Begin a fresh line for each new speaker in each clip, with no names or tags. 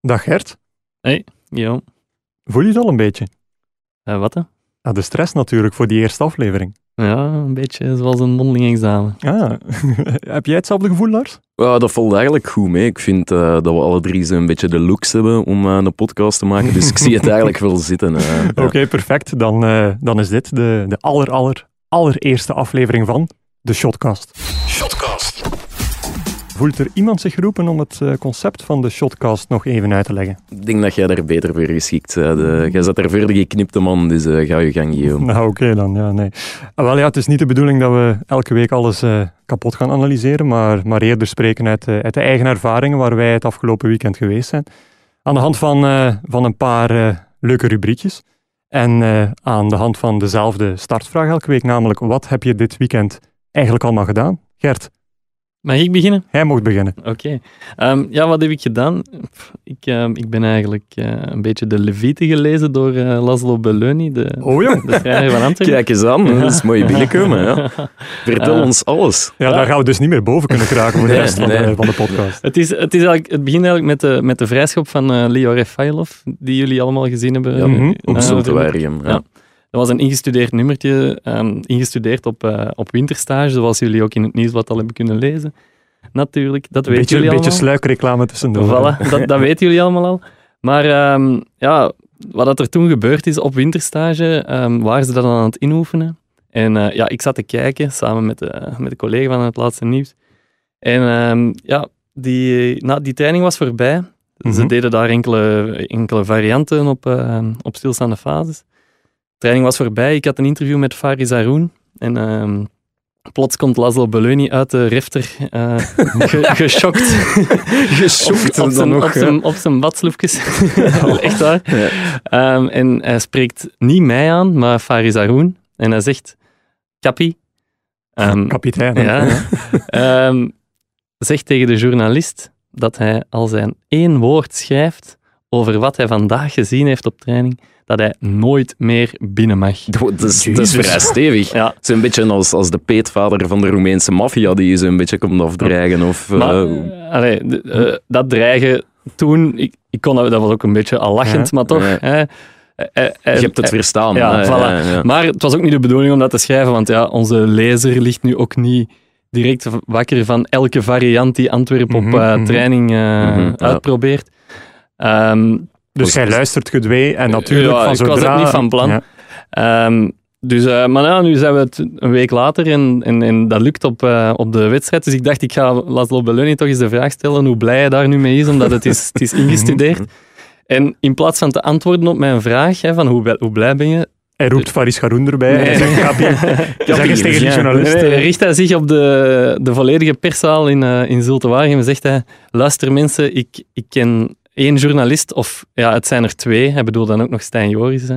Dag Gert,
Jo,
voel je het al een beetje?
Eh, wat hè?
Ah, de stress natuurlijk voor die eerste aflevering.
Ja, een beetje zoals een mondeling examen.
Ah, heb jij hetzelfde gevoel, Lars?
Ja, dat valt eigenlijk goed mee. Ik vind eh, dat we alle drie zo'n beetje de looks hebben om eh, een podcast te maken. Dus ik zie het eigenlijk wel zitten. eh.
Oké, perfect. Dan, eh, dan is dit de, de aller, aller, allereerste aflevering van de Shotcast. Shotcast. Voelt er iemand zich geroepen om het eh, concept van de Shotcast nog even uit te leggen?
Ik denk dat jij daar beter voor geschikt bent. eh. jij zat er verder geknipte man, dus eh, ga je gang, Guillaume.
Nou, oké dan. Ja, nee. Ah, wel, ja, het is niet de bedoeling dat we elke week alles eh, kapot gaan analyseren, maar, maar eerder spreken uit, eh, uit de eigen ervaringen waar wij het afgelopen weekend geweest zijn. Aan de hand van, eh, van een paar eh, leuke rubriekjes en eh, aan de hand van dezelfde startvraag elke week, namelijk wat heb je dit weekend eigenlijk allemaal gedaan? Gert,
Mag ik beginnen?
hij mocht beginnen.
Oké. Ehm, ja, wat heb ik gedaan? Pff, ik, ehm, ik ben eigenlijk eh, een beetje de Levite gelezen door eh, Laszlo Belloni, de,
Oh jong.
de schrijver van Antwerpen.
Kijk eens aan, dat is mooi binnenkomen. Ja. Vertel
Eh,
ons alles.
Ja, daar gaan we dus niet meer boven kunnen kraken voor de
Nee,
rest van,
nee.
de, van de podcast.
Het, is, het, is eigenlijk, het begint eigenlijk met de, met de vrijschop van eh, Leo Refailov, die jullie allemaal gezien hebben.
Ja,
Mhm.
Eh,
Op
natuurlijk.
Zoltewaardigem. Ja.
Ja. Dat was een ingestudeerd nummertje, ehm, ingestudeerd op, eh, op winterstage, zoals jullie ook in het nieuwsblad al hebben kunnen lezen. Natuurlijk, dat
Een
weten
beetje,
jullie
een beetje
allemaal.
sluikreclame tussendoor.
Voilà, dat, dat weten jullie allemaal al. Maar ehm, ja, wat dat er toen gebeurd is op winterstage, ehm, waren ze dat aan het inoefenen. En eh, ja, ik zat te kijken samen met de, met de collega van het laatste nieuws. En ehm, ja, die, nou, die training was voorbij. Ze
Mhm.
deden daar enkele, enkele varianten op, ehm, op stilstaande fases. De training was voorbij. Ik had een interview met Faris Haroun. En ehm, plots komt Laszlo Belloni uit de refter, eh, ge- geschokt
Geschokt
op, op
dan
zijn,
nog.
op zijn, op zijn badsloefjes. Echt waar.
Ja.
Ehm, en hij spreekt niet mij aan, maar Faris Haroun. En hij zegt, Kapi,
eh,
ehm,
Kapitein.
ja, ehm, zegt tegen de journalist dat hij al zijn één woord schrijft over wat hij vandaag gezien heeft op training, dat hij nooit meer binnen mag.
Dat is, dat is
Jezus.
vrij stevig.
Ja.
Zo'n beetje als, als de peetvader van de Roemeense maffia die je zo'n beetje komt afdreigen. Of, eh,
Maar, eh, allee, de-
Hm.
eh, dat dreigen toen, ik, ik kon dat, dat was ook een beetje al lachend, maar toch.
Ja.
hè, eh, eh, eh,
je hebt het verstaan.
ja,
Eh,
voilà.
ja.
Maar het was ook niet de bedoeling om dat te schrijven, want ja, onze lezer ligt nu ook niet direct v- wakker van elke variant die Antwerpen op
Mhm,
eh,
mhm.
training eh,
Mhm, ja.
uitprobeert. Ehm,
Dus
Was-
jij luistert gedwee en natuurlijk
Ja,
van
ik was
zodra...
ook niet van plan. ehm, dus, eh, maar ja, nu zijn we het een week later en, en, en dat lukt op, eh, op de wedstrijd. Dus ik dacht, ik ga Laszlo Belloni toch eens de vraag stellen hoe blij hij daar nu mee is, omdat het is, het is ingestudeerd.
Mhm,
En in plaats van te antwoorden op mijn vraag, hè, van hoe, blij- hoe blij ben je,
Hij roept Faris Garoen erbij en
Nee.
zegt Kapi. Zeg eens tegen die
ja.
journalist.
Nee,
eh,
nee, richt hij zich op de, de volledige perszaal in, eh in Zultewaargem en zegt hij, luister mensen, ik, ik ken één journalist, of ja, het zijn er twee, hij bedoelt dan ook nog Stijn Joris. eh.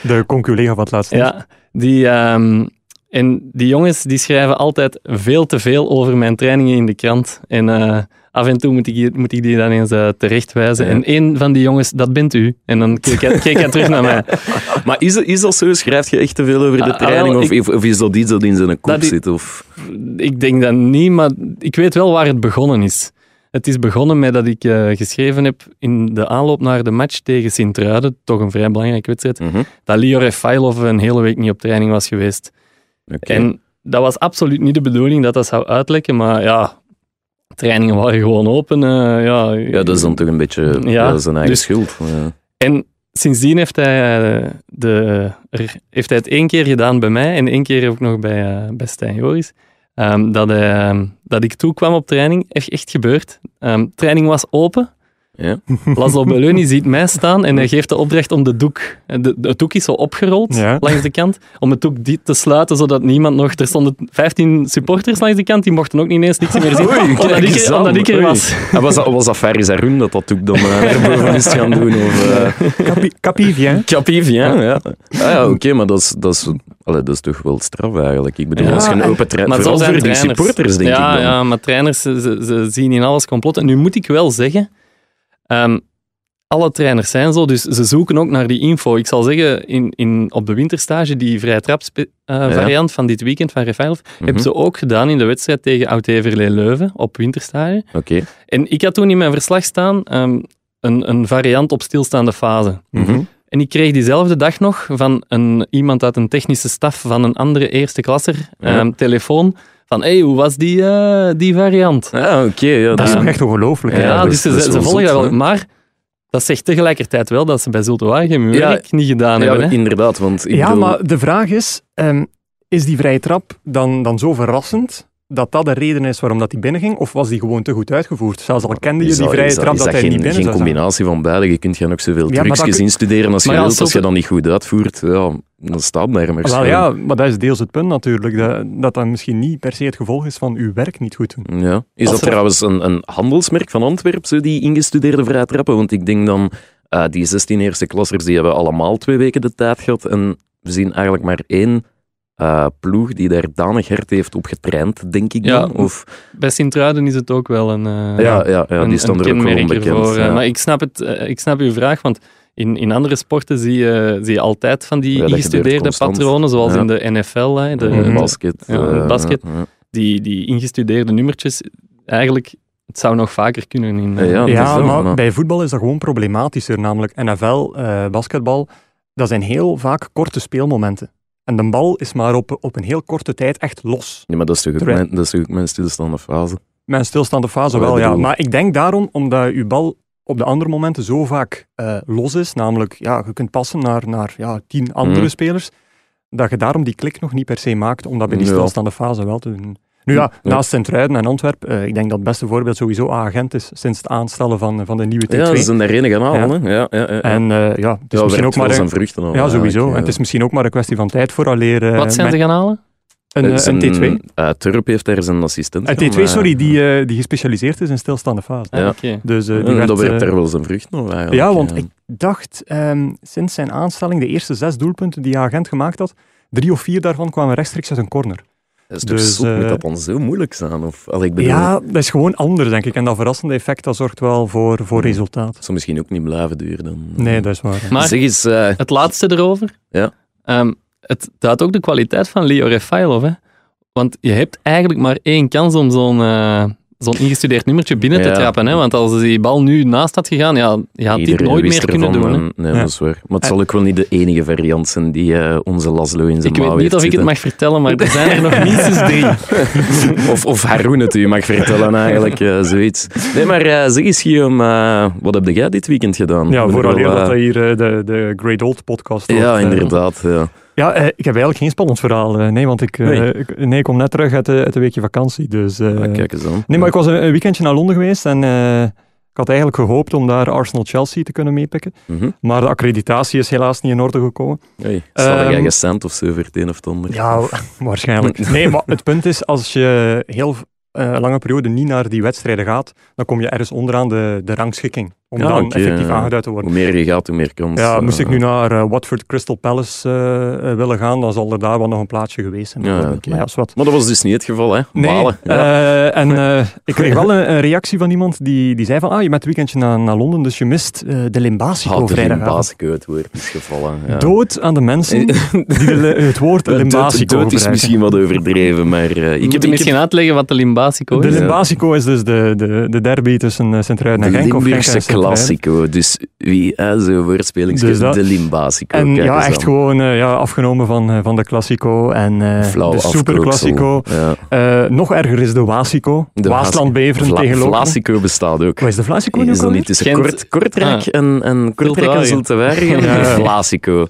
De conculega van het laatste.
Ja, die, ehm, en die jongens die schrijven altijd veel te veel over mijn trainingen in de krant. En eh, af en toe moet ik, hier- moet ik die dan eens eh, terechtwijzen.
Ja.
En één van die jongens, dat bent u. En dan keek hij, keek hij terug naar mij.
Maar is, is dat zo? Schrijf je echt te veel over
Ah,
de
ah,
training?
wel,
of, of is dat iets dat in zijn kop
Dat die-
zit? Of...
Ik denk dat niet, maar ik weet wel waar het begonnen is. Het is begonnen met dat ik eh, geschreven heb in de aanloop naar de match tegen Sint-Truiden, toch een vrij belangrijke wedstrijd,
Mhm.
dat Lior Refailov een hele week niet op training was geweest.
Oké.
En dat was absoluut niet de bedoeling dat dat zou uitlekken, maar ja, trainingen waren gewoon open. eh, ja.
Ja, dat is dan toch een beetje
Ja,
ja, zijn eigen
dus-
schuld. Ja.
En sindsdien heeft hij, eh, de, er- heeft hij het één keer gedaan bij mij en één keer ook nog bij, eh, bij Stijn Joris. ehm, dat, hij, ehm, dat ik toekwam op training, echt, echt gebeurd. Ehm, training was open.
Ja.
Laszlo Belloni ziet mij staan en hij geeft de opdracht om de doek... eh, De, de- het doek is zo opgerold
Ja.
langs de kant, om het doek die te sluiten, zodat niemand nog... Er stonden 15 supporters langs de kant, die mochten ook niet ineens niks meer zien, omdat,
kijk
ik
eens
er,
aan.
omdat ik er
Oei.
was.
En was dat, was dat Faris Arun dat dat ook dan eh, naar boven is gaan doen? Of, eh,
Kapi, Kapi vient.
Capiv, ja. ja. Ah, ja Oké, maar dat is, dat, is, allee, dat is toch wel straf eigenlijk. Ik bedoel,
Ja,
als je een
en-
open trein...
Maar zo
Vooral
zijn
voor die
trainers.
supporters, denk
ja,
ik dan.
Ja, maar trainers, ze, ze- ze zien in alles complotten. Nu moet ik wel zeggen, ehm, alle trainers zijn zo, dus ze zoeken ook naar die info. Ik zal zeggen, in, in, op de winterstage, die vrije
Ja. Mhm.
trapsvariant eh, van dit weekend van Refailov, hebben ze ook gedaan in de wedstrijd tegen oud Everlee Leuven op winterstage.
Oké.
En ik had toen in mijn verslag staan, ehm, een, een variant op stilstaande fase.
Mhm.
En ik kreeg diezelfde dag nog van een, iemand uit een technische staf van een andere eerste klasser
Ja.
ehm, telefoon van hé, hey, hoe was die, eh, die variant?
Ah, oké. ja,
Dat is
Ja.
toch echt ongelooflijk.
Ja,
hè?
dat
dus
is-
ze,
dat is
ze
wel
volgen
zot,
dat wel.
hè?
Maar dat zegt tegelijkertijd wel dat ze bij Zulte Waregem hun
Ja,
werk niet gedaan
ja,
hebben. hè.
inderdaad, want ik
ja,
bedoel-
maar de vraag is, ehm, is die vrije trap dan, dan zo verrassend dat dat de reden is waarom dat die binnenging? Of was die gewoon te goed uitgevoerd? Zelfs al kende je
Is
die
dat-
vrije
is dat-
trap
is
dat,
dat
hij
geen,
niet binnen
geen
zou staan.
combinatie van beide. Je kunt gaan ook zoveel
maar
trucjes
dat-
instuderen als je
Maar ja, als
wilt. Als je
zulke-
dat niet goed uitvoert, ja, dan staat daar maar
Wel
stil.
ja, maar dat is deels het punt natuurlijk, dat dat, dat misschien niet per se het gevolg is van uw werk niet goed doen.
Ja. Is
Als
dat
er-
trouwens een, een handelsmerk van Antwerpen, zo die ingestudeerde vrije trappen? Want ik denk dan, eh, die 16 eerste klassers, die hebben allemaal twee weken de tijd gehad. En we zien eigenlijk maar één eh, ploeg die daar danig hard heeft op getraind, denk ik
Ja.
dan. Of,
Bij Sint-Truiden is het ook wel een, eh,
ja, ja, ja,
een,
die staan
een
er ook wel
kenmerk
onbekend.
ervoor. eh,
ja.
Maar ik snap, het, eh, ik snap uw vraag, want in, in andere sporten zie je, zie je altijd van die
Ja, dat gebeurt
ingestudeerde
constant.
patronen, zoals
Ja.
in de NFL, hè, de,
Eh,
Mhm.
de-
basket.
ja,
eh,
basket.
ja,
die, die ingestudeerde nummertjes. Eigenlijk, het zou nog vaker kunnen in... eh,
Ja, Ah, dat is
Ja,
wel,
maar
maar-
bij voetbal is dat gewoon problematischer. Namelijk NFL, eh, basketbal, dat zijn heel vaak korte speelmomenten. En de bal is maar op, op een heel korte tijd echt los.
Ja, maar dat is toch ook
Terwijl-
mijn, dat is toch ook mijn stilstaande fase.
Mijn stilstaande fase
Ja,
wel,
ik
ja.
bedoel-
Maar ik denk daarom, omdat uw bal op de andere momenten zo vaak eh, los is, namelijk, ja, je kunt passen naar, naar ja, tien andere
Mhm.
spelers, dat je daarom die klik nog niet per se maakt, om dat bij die
Ja.
stilstaande fase wel te doen. Nu ja,
Ja.
naast Sint-Truiden en Antwerpen, eh, ik denk dat het beste voorbeeld sowieso agent is sinds het aanstellen van, van de nieuwe T2.
Ja, dat is een reden kanaal,
Ja.
hè? Ja, ja, ja.
En eh, ja, het is
ja,
misschien ook maar
zijn
een,
vruchten al.
ja, sowieso.
eigenlijk,
En het is misschien ook maar een kwestie van tijd voor alleen
Wat zijn ze gaan halen?
een,
Eh,
eh, een T2.
zijn- eh, Turp heeft daar zijn assistent.
Een
van,
T2,
eh,
sorry, die, eh, die gespecialiseerd is in stilstaande fase.
Ah,
Ja.
oké.
Dus eh,
eh,
die werd,
dat werpt
eh,
daar wel zijn vruchten op, eigenlijk.
ja, want
eh.
ik dacht ehm, sinds zijn aanstelling, de eerste zes doelpunten die agent gemaakt had, drie of vier daarvan kwamen rechtstreeks uit een corner.
Dat is toch
dus,
zot, moet
eh,
dat dan zo moeilijk zijn? Of, al, ik bedoel,
Ja, dat is gewoon anders, denk ik. En dat verrassende effect, dat zorgt wel voor, voor
Hmm.
resultaat.
het zou misschien ook niet blijven duren. Dan.
Nee, dat is waar. ja.
Maar
Zeg eens, eh,
het laatste erover.
Ja.
Ehm, het duidt ook de kwaliteit van Leo Refailov. Hè? Want je hebt eigenlijk maar één kans om zo'n eh, zo'n ingestudeerd nummertje binnen
Ja.
te trappen. Hè? Want als die bal nu naast had gegaan, ja, je had dit
iedereen
nooit
wist
meer
ervan,
kunnen doen. Hè? Eh,
en- Nee,
Ja.
dat is waar. Maar het zal ook wel niet de enige variant zijn die eh, onze Laszlo in zijn
Ik weet
mouw
niet
heeft
of ik het
zitten.
mag vertellen, maar er zijn er nog minstens drie.
of, of Haroon het u mag vertellen, eigenlijk, eh, zoiets. Nee, maar eh, zeg eens, Guillaume, eh, wat heb jij dit weekend gedaan?
Ja,
Ik
vooral
bedoel,
dat
eh,
hier eh, de, de Great Old podcast wordt,
Ja,
eh,
inderdaad. Ja.
Ja, eh, ik heb eigenlijk geen spannend verhaal. eh, nee, want ik, eh,
Nee.
ik- nee, ik kom net terug uit, de- uit een weekje vakantie. Dus, eh,
Ah, kijk eens aan.
nee, maar ik was een, een weekendje naar Londen geweest en eh, ik had eigenlijk gehoopt om daar Arsenal-Chelsea te kunnen meepikken.
Mhm.
Maar de accreditatie is helaas niet in orde gekomen.
Hey, staat
Ehm,
er jij cent of zo voor het een of het ander?
Ja, waarschijnlijk. Nee, maar het punt is, als je heel eh, lange periode niet naar die wedstrijden gaat, dan kom je ergens onderaan de, de rangschikking. Om
Ja,
dan
oké,
effectief
ja.
aangeduid te worden.
Hoe meer je gaat, hoe meer kans.
Ja,
eh,
moest ik nu naar eh, Watford Crystal Palace eh, eh, willen gaan, dan zal er daar wel nog een plaatsje geweest zijn.
Ja,
natuurlijk.
oké.
Maar ja, is wat.
Maar dat was dus niet het geval, hè?
Nee,
Balen. Ja.
eh, en eh, ik kreeg wel een, een reactie van iemand die, die zei van, ah, je bent weekendje naar, naar Londen, dus je mist eh, de Limbasico
Had er geen
vrijdagavond.
basico het woord is gevallen. Ah, Ja.
Dood aan de mensen die de, li- het woord
Eh,
Limbasico
dood, dood is
gebruiken.
misschien wat overdreven, maar eh,
Ik
ik
moet
heb
je
ik heb
misschien uitleggen wat de Limbasico
De
is.
Ja.
Limbasico is dus de, de, de derby tussen eh, Sint-Truiden en
de
Genk. of Genk en
Limburgse
Sint-Truiden.
klassico. Dus wie, hè, zo'n woordspeling,
Dus dat-
de Limbasico.
En
kijk
ja,
eens
echt
aan.
gewoon eh, ja, afgenomen van, eh, van de Classico en eh,
Flauw
de
afkooksel.
Super Classico.
Ja.
Eh, nog erger is de Wasico.
De
Waasland-Beveren
Vla-
tegen Lokeren.
Vlasico bestaat ook.
Wat is de Vlasico nu
Is
ook
dat niet
alweer?
tussen
Gent-
kort, Kortrijk en, en Ah. Kortrijk en
Waregem.
Zultewaardig en
Ja.
Vlasico.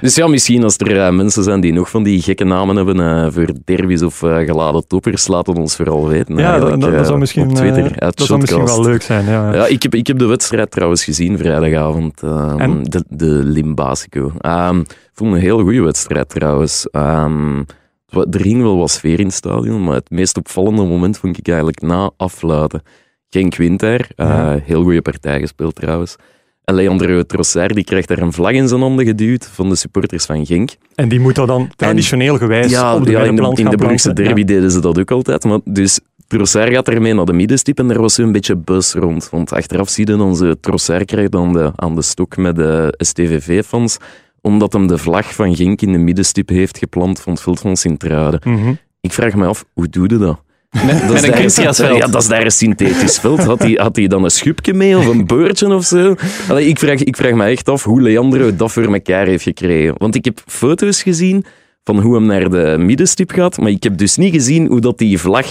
Dus ja, misschien als er eh, mensen zijn die nog van die gekke namen hebben eh, voor derbies of eh, geladen toppers, laat het ons vooral weten.
Ja, dat-
eigenlijk,
dat, dat
eh,
zou misschien,
Op Twitter,
eh,
uit
dat zou misschien wel
Shotcast.
leuk zijn. Ja.
Ja, ik heb, ik heb de wedstrijd trouwens gezien vrijdagavond. ehm,
En?
De, de Limbasico. Ehm, ik vond een heel goede wedstrijd trouwens. Ehm, het wa- er ging wel wat sfeer in het stadion, maar het meest opvallende moment vond ik eigenlijk na afluiten. Genk wint daar. eh,
Ja.
Heel goede partij gespeeld trouwens. En Leandro Trossard die krijgt daar een vlag in zijn handen geduwd van de supporters van Genk.
En die moet dat dan traditioneel gewijs
Ja,
op de
ja, in de,
middenplant
in
gaan
de Brugse
planten.
derby
Ja.
deden ze dat ook altijd. Maar dus Trossard gaat ermee naar de middenstip en er was een beetje buzz rond. Want achteraf zie je dan ze Trossard krijgt aan de, aan de stok met de STVV-fans omdat hem de vlag van Genk in de middenstip heeft geplant van het veld van Sint-Truiden.
Mhm.
Ik vraag me af, hoe doe je dat?
Met,
Dat is
met een
daar-
kunstgrasveld.
Ja, dat is daar een synthetisch veld. Had hij, had hij dan een schubje mee of een beurtje of zo? Allee, ik, vraag, ik vraag me echt af hoe Leandro dat voor elkaar heeft gekregen. Want ik heb foto's gezien van hoe hem naar de middenstip gaat, maar ik heb dus niet gezien hoe dat die vlag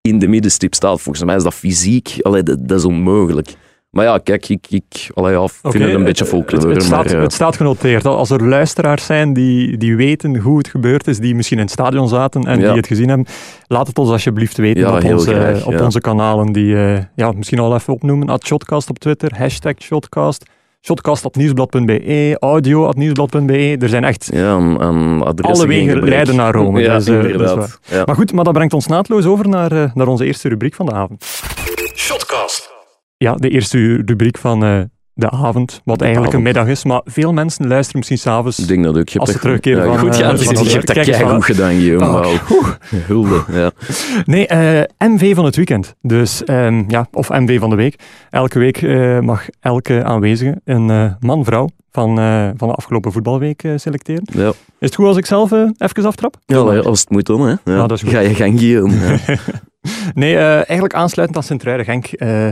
in de middenstip staat. Volgens mij is dat fysiek, allee, dat, dat is onmogelijk. Maar ja, kijk, ik, ik allee, ja, vind
Oké,
het een beetje
Het,
folklore.
het, staat,
maar, eh,
het staat genoteerd. Al- Als er luisteraars zijn die, die weten hoe het gebeurd is, die misschien in het stadion zaten en
Ja.
die het gezien hebben, laat het ons alsjeblieft weten
Ja,
op,
heel
onze,
graag,
op
ja.
onze kanalen. Die eh, ja, misschien al even opnoemen. At Shotcast op Twitter, hashtag Shotcast, Shotcast op nieuwsblad.be, E, audio op nieuwsblad.be. E. Er zijn echt...
ja, aan, aan adressen
Alle
geen
wegen
gebrek.
leiden naar Rome,
Ja,
dus, eh, dat is
inderdaad. Ja.
Maar goed, maar dat brengt ons naadloos over naar, eh, naar onze eerste rubriek van de avond.
Shotcast.
Ja, de eerste rubriek van eh, de avond, wat
De
eigenlijk een
avond.
middag is. Maar veel mensen luisteren misschien s'avonds
Ik denk dat ook. Je hebt
Als ze
echt-
terugkeren van,
goed
eh,
gedaan.
van
je
het
hebt dat
werk. Kijk, Oh,
keigoed
voilà.
gedaan, Guillaume.
Dank.
Wauw. Hulde. Ja.
Nee, eh, MV van het weekend. Dus, ehm, ja, of MV van de week. Elke week eh, mag elke aanwezige een eh, man-vrouw van, eh, van de afgelopen voetbalweek eh, selecteren.
Ja.
Is het goed als ik zelf eh, even aftrap?
Ja, allee, als het moet dan, hè. Ja.
Ja, Nou, dat is goed.
Ga je gang, Guillaume. Ja.
Nee, eh, eigenlijk aansluitend aan Sint-Truiden Genk eh,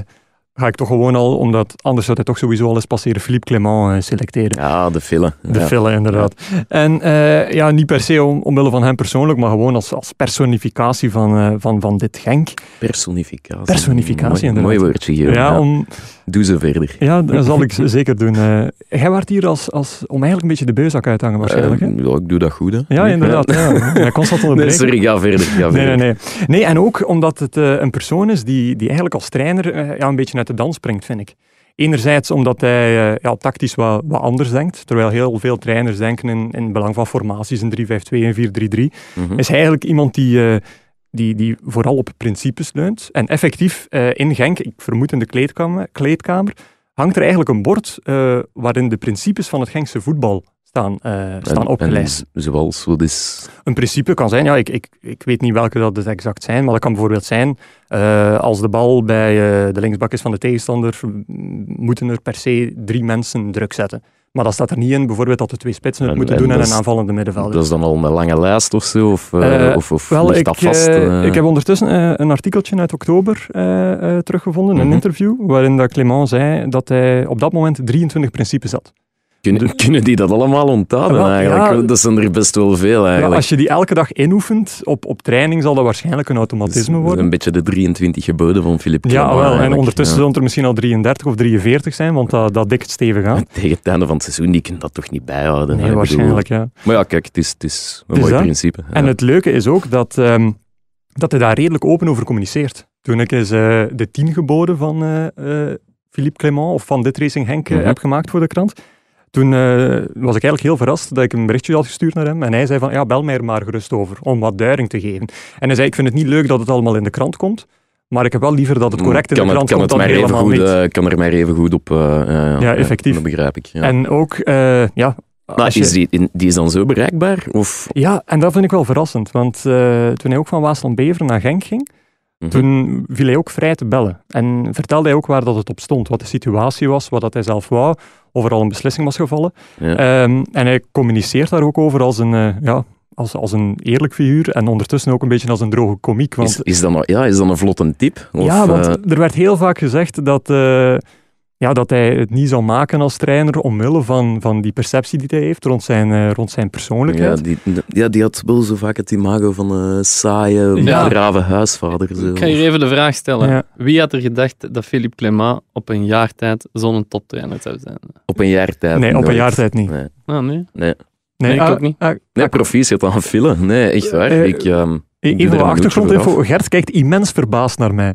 ga ik toch gewoon al, omdat anders zou hij toch sowieso al eens passeren, Philippe Clement eh, selecteren.
Ja, de file.
De
ja.
file, inderdaad. En eh, ja, niet per se om, omwille van hem persoonlijk, maar gewoon als, als personificatie van, eh, van, van dit Genk.
Personificatie.
Personificatie,
mooi,
inderdaad.
Mooi woordje,
Ja,
Guillaume. Ja,
om...
Doe ze verder.
Ja, dat zal ik z- zeker doen. Eh jij werd hier als, als, om eigenlijk een beetje de beuzak uit te hangen waarschijnlijk. hè?
Eh, ja, ik doe dat goed, hè.
ja, inderdaad. Ja. Ja, constant
Nee,
onderbreken.
sorry, ga verder. Ga
Nee,
verder.
nee, nee. Nee, en ook omdat het eh, een persoon is die, die eigenlijk als trainer eh, ja, een beetje uit de dans springt, vind ik. Enerzijds omdat hij eh, ja, tactisch wat, wat anders denkt, terwijl heel veel trainers denken in, in het belang van formaties, in 3-5-2 en 4-3-3
Mhm.
is hij eigenlijk iemand die, eh, die, die vooral op principes leunt. En effectief eh, in Genk, ik vermoed in de kleedkamer, kleedkamer hangt er eigenlijk een bord eh, waarin de principes van het Genkse voetbal staan, eh,
En-
staan opgelijst.
en zoals, wat is...
Een principe kan zijn, ja, ik, ik, ik weet niet welke dat het exact zijn, maar dat kan bijvoorbeeld zijn, eh, als de bal bij eh, de linksbak is van de tegenstander, m, moeten er per se drie mensen druk zetten. Maar dat staat er niet in, bijvoorbeeld dat de twee spitsen het
En-
moeten
en
doen en
dat
een
is-
aanvallende middenvelder.
Dat is dan al een lange lijst of zo? Of, eh,
Eh,
of, of
Wel,
ligt
ik,
dat vast?
eh,
eh?
ik heb ondertussen eh, een artikeltje uit oktober eh, eh, teruggevonden,
Mhm.
een interview, waarin dat Clément zei dat hij op dat moment 23 principes had.
Kunnen, kunnen die dat allemaal onthouden
Ah, Wel,
eigenlijk?
ja.
dat zijn er best wel veel
Ja,
eigenlijk.
als je die elke dag inoefent op, op training, zal dat waarschijnlijk een
Dat is-
automatisme
dat is
worden.
Een beetje de 23 geboden van Philip
Ja,
Clement
wel. En
eigenlijk.
ondertussen
Ja.
zullen het er misschien al 33 of 43 zijn, want dat, dat dikt stevig aan.
Tegen het einde van het seizoen, die kunnen dat toch niet bijhouden? hè? Ik
Nee,
bedoel-
waarschijnlijk, ja.
Maar ja, kijk, het is, het is een
Het is
mooi
dat.
principe.
En het leuke is ook dat, ehm, dat hij daar redelijk open over communiceert. Toen ik eens eh, de tien geboden van eh, eh, Philippe Clément of van dit Racing Henk eh,
Mhm.
heb gemaakt voor de krant, toen eh, was ik eigenlijk heel verrast dat ik een berichtje had gestuurd naar hem. En hij zei van, ja, bel mij er maar gerust over, om wat duiding te geven. En hij zei, ik vind het niet leuk dat het allemaal in de krant komt, maar ik heb wel liever dat het correct in
Mm, Mhm. kan
de krant
kan
komt
het
dan
maar even
helemaal
goed,
niet.
eh, kan er maar even goed op. eh, eh,
Ja,
eh,
effectief.
Dat begrijp ik. Ja.
En ook, eh, ja...
maar
als je-
is die, in- die is dan zo bereikbaar? Of,
Ja, en dat vind ik wel verrassend. Want eh, toen hij ook van Waasland-Beveren naar Genk ging,
Mhm.
toen viel hij ook vrij te bellen. En vertelde hij ook waar dat het op stond, wat de situatie was, wat dat hij zelf wou, of er al een beslissing was gevallen.
Ja.
Ehm, en hij communiceert daar ook over als een, eh, ja, als, als een eerlijk figuur en ondertussen ook een beetje als een droge komiek. Want,
is, is, dat nou, ja, is dat een vlotte tip? Of,
ja, want
eh,
er werd heel vaak gezegd dat, eh, ja, dat hij het niet zou maken als trainer omwille van, van die perceptie die hij heeft rond zijn, eh, rond zijn persoonlijkheid.
ja, die, ja, die had wel zo vaak het imago van een saaie,
Ja.
brave huisvader. Zo.
Ik ga hier even de vraag stellen.
Ja.
Wie had er gedacht dat Philippe Clément op een jaar tijd zo'n toptrainer zou zijn?
Op een jaar tijd.
nee, op een
Eh, nooit.
jaar tijd niet.
Nee,
Nou, nee.
Nee,
Nee, ik
ah,
ook niet.
ah,
nee proficiat aan fillen. Nee, echt waar.
Eh,
ik, ehm, doe
Even wat
er een minuutje
achtergrondinfo.
voor
Gert kijkt immens verbaasd naar mij.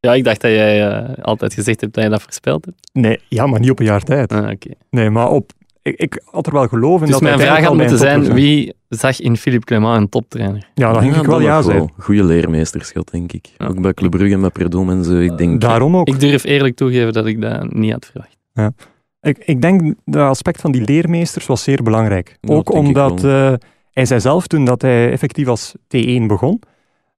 Ja, ik dacht dat jij eh, altijd gezegd hebt dat je dat voorspeld hebt.
Nee, ja, maar niet op een jaar tijd.
Ah, oké.
Nee, maar op... Ik, ik had er wel geloof in
Dus
dat
mijn
hij
vraag had moeten
uiteindelijk al bij
zijn,
een
wie zag in Philippe Clément een toptrainer?
topper- Ja, dan ging ik wel
dat
ja
nog
zijn.
Goeie leermeesterschap, denk ik.
Ja.
Ook bij Club Brugge met Predom en zo. Ik denk,
Daarom ook. Ik,
Ik durf eerlijk toegeven dat ik dat niet had verwacht.
ik, denk dat aspect van die leermeesters was zeer belangrijk.
Ja,
ook
dat denk ik
omdat eh, hij zei zelf toen dat hij effectief als T1 begon,